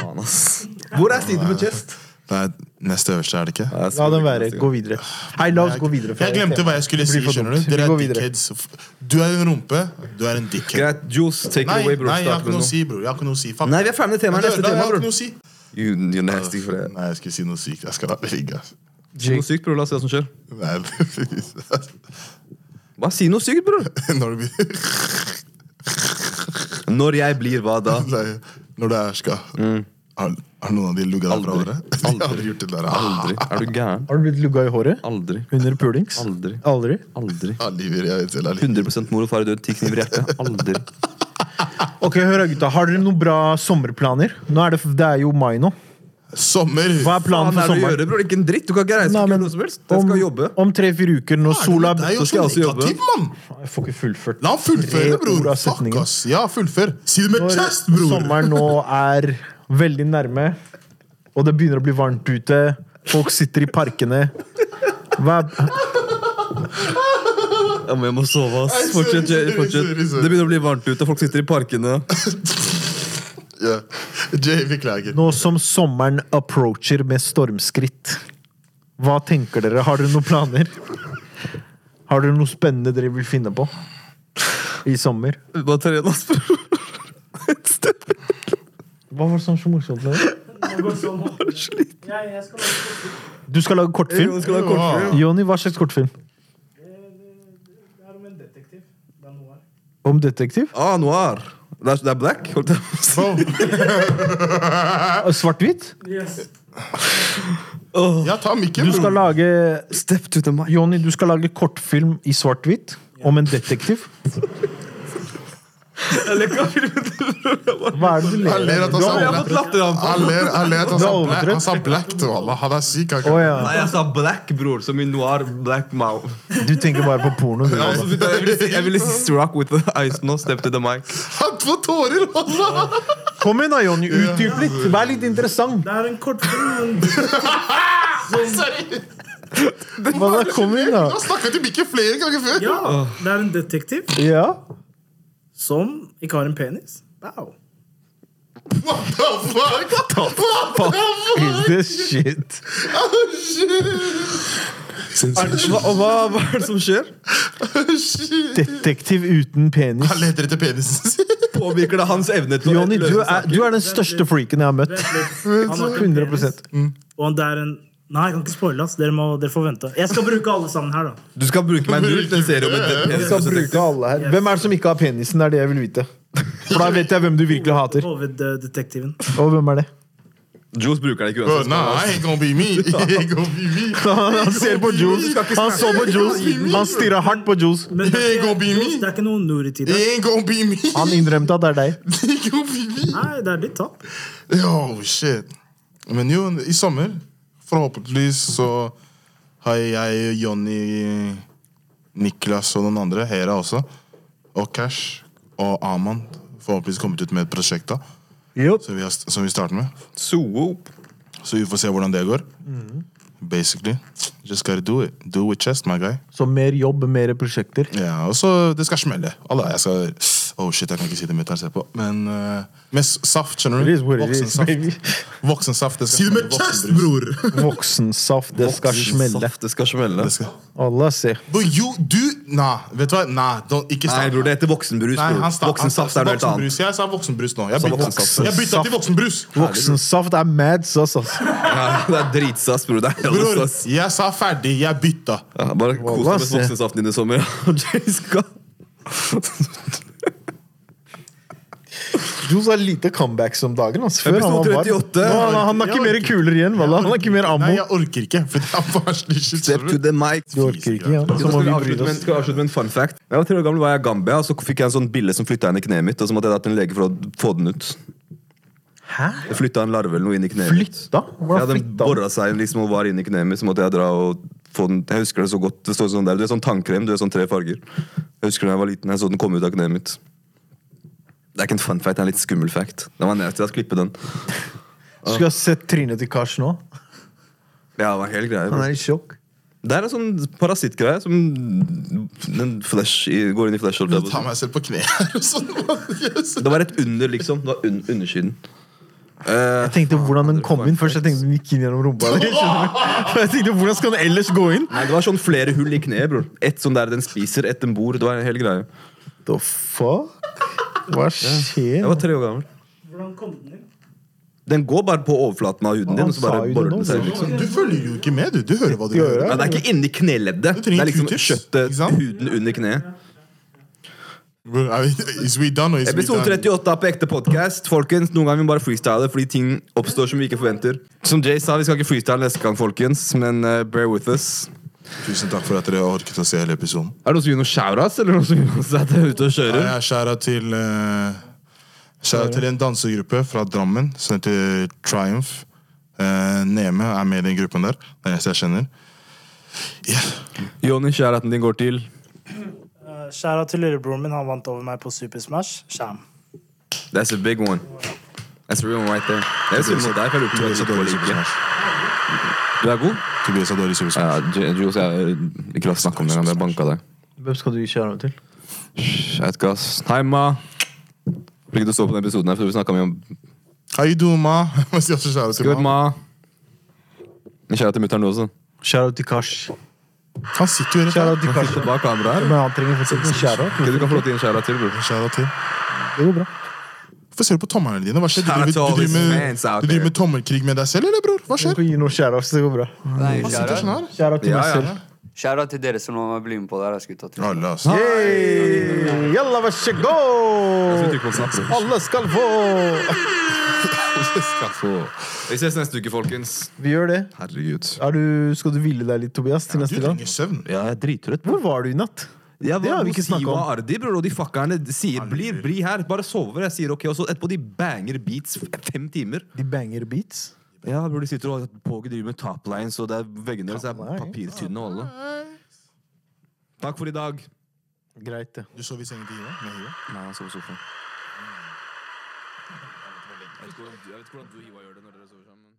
Faen, ass. Hvor er siden på chest?
Det er neste øverste, er det ikke?
Ja, jeg
La
skal
den
bruke
være.
neste gang.
Gå videre. Hei, la oss gå videre. fra
Ah, Jeg glemte hva jeg skulle
Det
si.
blir for
skjønner
dumt.
Du
Vi
Dere
går
er
videre.
dickheads. Du er en rumpe, du er en dickhead.
Greit. Juice, take
Nei,
it away, bror.
nei, jeg har
Start
ikke
med
noe
noe.
å si, bror. Jeg har ikke noe å si. Fuck.
Nei, vi er ferdig med temaet. Neste
Men da- Jeg
tema,
har ikke
bror.
noe å si.
You, you're nasty for det.
Nei, jeg skulle si noe sykt. Jeg skal la det ligge. ass.
Si noe sykt, bror. La oss se hva som skjer.
Nei,
Hva? Si noe sykt, bror!
Når du blir
Når jeg blir hva da?
Nei, Når du er skal Har har noen av de lugga deg fra
Mm. Aldri.
hverandre? De har Aldri gjort det der. Ah,
Aldri. Er du gæren?
Har du blitt lugga i håret?
Aldri.
Under pulings?
Aldri.
Aldri.
Aldri.
Ah, Livet, jeg vet selv, er litt-
100 mor og far er død, ti kniver i hjertet. Aldri.
Ok, hør da, gutta. Har dere noen bra sommerplaner? Nå er det, det er jo mai nå.
Sommer!
Hva er planen
Faen er det
for
å
sommeren?
gjøre, bror? Ikke en dritt. Du kan ikke reise
Nei,
ikke
men
gjøre noe som helst. Jeg skal jobbe.
om tre-fire uker, når sola
Det er jo
så skal jeg
så
også jobbe.
negativ, mann!
Jeg får ikke fullført.
La han fullføre,
Tre ord
bror.
av
Fuck,
setningen.
ass. Ja, fullfør. Si det med
Når
chest, bror!
sommeren nå er veldig nærme, og det begynner å bli varmt ute. Folk sitter i parkene. Hva
Ja, men jeg må sove, ass.
Nei, sorry,
Fortsett, Jerry.
sorry,
fortsett.
sorry, sorry.
Det begynner å bli varmt ute, folk sitter i parkene.
Ja. Jay, vi klager.
Nå som sommeren approacher med stormskritt, hva tenker dere? Har dere noen planer? Har dere noe spennende dere vil finne på i sommer?
Bare trene, ass.
Hva var det som var så morsomt med det?
Jeg, jeg skal lage
Du skal lage kortfilm?
Skal du ha kortfilm?
Joni, hva slags kortfilm?
Det er om en detektiv. Det er noe her.
Om detektiv?
Ah, noir. Det er, det er black. holdt jeg på å si.
Ah, Svart-hvitt?
Yes.
Ja, ta mikken,
Du skal
bror.
lage
Step to the mic.
Joni, du skal lage kortfilm i svart-hvitt om en detektiv? Hva er det du
Han ler
ler av?
at han
Du
sa
har-
black. Han ler han ler at han
Du
sa
har
black. Han
overdrevet.
sa black til Allah. Han er syk. han kan-
Å ja.
Nei, jeg sa black, bror. Som i noir black mouth.
Du tenker bare på porno. Du,
Ja,
altså.
altså,
Jeg ville si- jeg ville si Struck with the ice nå. Step to the mic.
Han får tårer! Allah.
Kom igjen da, Jonny. Utdyp litt. Vær litt interessant.
Det er en kortfilm.
Hva da, kom igjen da.
Du har snakket til mikken flere ganger før.
Ja, det er en detektiv
Ja.
som ikke har en penis. Wow.
What the fuck? What the
Is this shit?
fuck? Shit.
Hva, og hva, hva er det som skjer?
Oh, Shit.
Detektiv uten penis.
Han leter etter penisen sin.
Påvirker det hans evne til å
Jonny, du,
løse
er- du er den største freaken jeg har møtt.
Vent litt. Han har ikke en
100%.
penis. Og det er en Nei, jeg kan ikke spoile. ass. Dere, må- dere får vente. Jeg skal bruke alle sammen her, da.
Du skal bruke meg null til en serie om en
Jeg skal bruke alle her. Hvem er det som ikke har penisen? Det er det jeg vil vite. For da vet jeg hvem du virkelig hater.
Hoveddetektiven.
Og hvem er det?
Jules bruker det ikke
Bro,
uansett.
nah, I ain't gonna be me. I ain't gonna be me.
Han ser på Jules. Han så på Jules. Han stirra hardt på Jules.
Men det,
Hey,
er
gonna be
ikke,
me.
det er ikke noe Nurit i
I
det.
ain't gonna be me.
Han innrømte at det er deg.
I ain't gonna be me.
Nei, det er ditt tap.
Yo, shit. Men jo, i sommer, forhåpentligvis, så har jeg, Jonny, Niklas og noen andre, Hera også, og Cash og Aman forhåpentligvis kommet ut med et prosjekt da,
Jo.
som vi, har, som vi starter med.
Swoop.
Så vi får se hvordan det går. Basically. Just gotta do it. Do it with chest, my guy.
Så mer jobb, mer prosjekter.
Ja, og så Det skal smelle. Allah, jeg skal Oh shit, jeg kan ikke si det mitt her, se på. Men eh, med s- saft, skjønner
It
du.
is what it is, baby.
Voksensaft. Det skal si det med chest, bror!
Voksensaft, det skal smelle.
Saft, Det skal smelle.
Det skal...
Allah ser.
Bro, you, du Nei, vet du hva? Nei, don't, ikke
Nei,
snakk.
bror, det heter voksenbrus.
Nei,
bror.
han sta-
Voksensaft er
han sta-
noe helt annet.
voksenbrus. Jeg sa voksenbrus nå. Jeg
Sa
bytta,
voksensaft.
jeg bytta til voksenbrus.
Voksensaft er mad sass, ass.
Ja, det er dritsass, bror. Det er
Bror,
jævlig sass.
jeg sa ferdig. Jeg bytta.
Ja, bare kos deg med
Wallah, se.
voksensaften din i sommer. og Jay skal
Jules har lite comebacks om dagen. ass. Før han
Episode
var varm.
38.
Nå, han, han har ikke mer kuler igjen. Walla. Han har ikke mer ammo.
Nei, jeg orker ikke. For det er barnslig shit.
Step to
skjønner du?
the mic.
Du orker ikke, ja.
Så
Så må
skal jeg
vi bry
avslutte med, en-
oss.
skal jeg avslutte med en fun fact. Jeg var tre år gammel, var jeg i Gambia, og så fikk jeg en sånn bille som flytta inn i kneet mitt. Og så måtte jeg da til en lege for å få den ut.
Hæ?
Jeg flytta en larve eller noe inn i kneet mitt.
Flytta?
Ja,
Hvordan
den
flytta han?
borra seg inn liksom og var inni kneet mitt, så måtte jeg dra og få den Jeg husker det så godt. Det står sånn der, Du er sånn tannkrem, du er sånn tre farger. Jeg husker da jeg var liten, jeg så den komme ut av kneet mitt. Det er ikke en fun fact, det er en litt skummel fact. Den var nær til å klippe den.
Skulle ha sett trynet til Kars nå.
Ja, det var helt greie.
Han er i sjokk.
Det er en sånn parasittgreie som den flash, går inn i flash. holdt jeg
Jeg
på å
tar meg selv på kne her og sånn.
si. Det var rett under, liksom. Det var un undersiden. Eh,
Jeg tenkte hvordan den kom inn først. Jeg tenkte den gikk inn gjennom rumpa. di, skjønner du? For Jeg tenkte, Hvordan skal den ellers gå inn?
nei, det var sånn flere hull i kneet, bror. Ett sånn der den spiser, ett den bor. Det var en hel greie.
The fuck? Hva
Jeg
skjer?
var tre år gammel.
Hvordan kom den inn?
Den går bare på overflaten av huden din,
Han
og så bare
sa jo
borer
det nå,
den seg.
så-
Liksom.
Du følger jo ikke med, du. Du hører hva du
Gjør
gjør.
jeg?
Ja, det er ikke inni kneleddet.
Du
Det
trenger
er liksom
tuters, ikke
kjøttet,
sant?
huden under kneet.
Bro, I mean, Is we done or is we
Episode
done?
38 av På ekte podkast. Folkens, noen ganger vi bare freestyler fordi ting oppstår som vi ikke forventer. Som Jay sa, vi skal ikke freestyle neste gang, folkens, men eh, bear with us.
Tusen takk for at dere orket å se hele episoden.
Er det noen som gir noen shoutouts, eller noen som gir noen at jeg er ute og kjører?
Jeg skjæra til eh, skjæra til en dansegruppe fra Drammen som heter Triumph. Eh, Neme er med i den gruppen der. Det er den eneste jeg kjenner. Yeah.
Jonny, shoutouten din går til
Eh, Skjæra til lillebroren min. Han vant over meg på Super Smash. Skjæm.
That's a big one. That's real right there. Jeg er sur mot deg, for jeg lurer på om du
Tobias
er litt
er dårlig
for
i Super
like.
Smash.
Du er god?
Tobias er dårlig i Super
Ja,
Smash.
Ju- Jules, jeg ikke la oss snakke om det engang. Jeg banka deg.
Hvem skal du gi kjære til?
Jeg vet ikke, ass. Hei, ma. Får ikke du stå på den episoden her, for vi snakka mye om
How you doing, ma? Må si også kjære til
Good,
ma.
ma. Men Kjære til mutter'n, altså. du også.
Kjære til Kash.
Han sitter jo rett
Kjære
der.
til Kash.
Bak kameraet her.
Men han trenger faktisk ikke en kjære.
Ok, Du kan få lov til å gi en kjære til, bror.
Kjære til.
Det går bra.
Hvorfor ser du på tommelene dine? Hva skjer? Du
Shout out to all his
driver, du driver, med,
fans out
du driver
there.
med tommelkrig med deg selv, eller, bror? Hva
Du
skjer?
kan gi noen kjære, så det går bra.
Nei,
Han sitter sånn her.
Kjære til
Ja,
meg
ja.
selv.
Kjære til dere som nå blir med på det her, ass, gutta. Tusen
Alle, altså.
Hey, Jalla, vær så
Jeg skal
god!
trykke på knappen.
Alle skal få!
Vi ses neste uke, folkens.
Vi gjør det.
Herregud.
Er du, skal du hvile deg litt, Tobias, til
Du
neste gang?
trenger søvn.
Ja, jeg er drittrøtt.
Hvor var du i natt?
Jeg
Det
var
har vi
hos
ikke snakket
Siwa
om.
Ardi, bror, og de fuckerne sier 'bli, bli her'. Bare sover. Jeg sier ok, og så etterpå de banger beats f- fem timer.
De banger beats.
Ja, bror, de sitter og Påge driver med top lines, og det er veggene deres er papirtynne og alle. Takk for i dag.
Greit, det.
Du sov i sengen til Hiva? Med Hiva?
Nei, han sover på sofaen. Jeg vet ikke hvordan du- jeg vet ikke hvordan du og Ivar gjør det når dere sover sammen.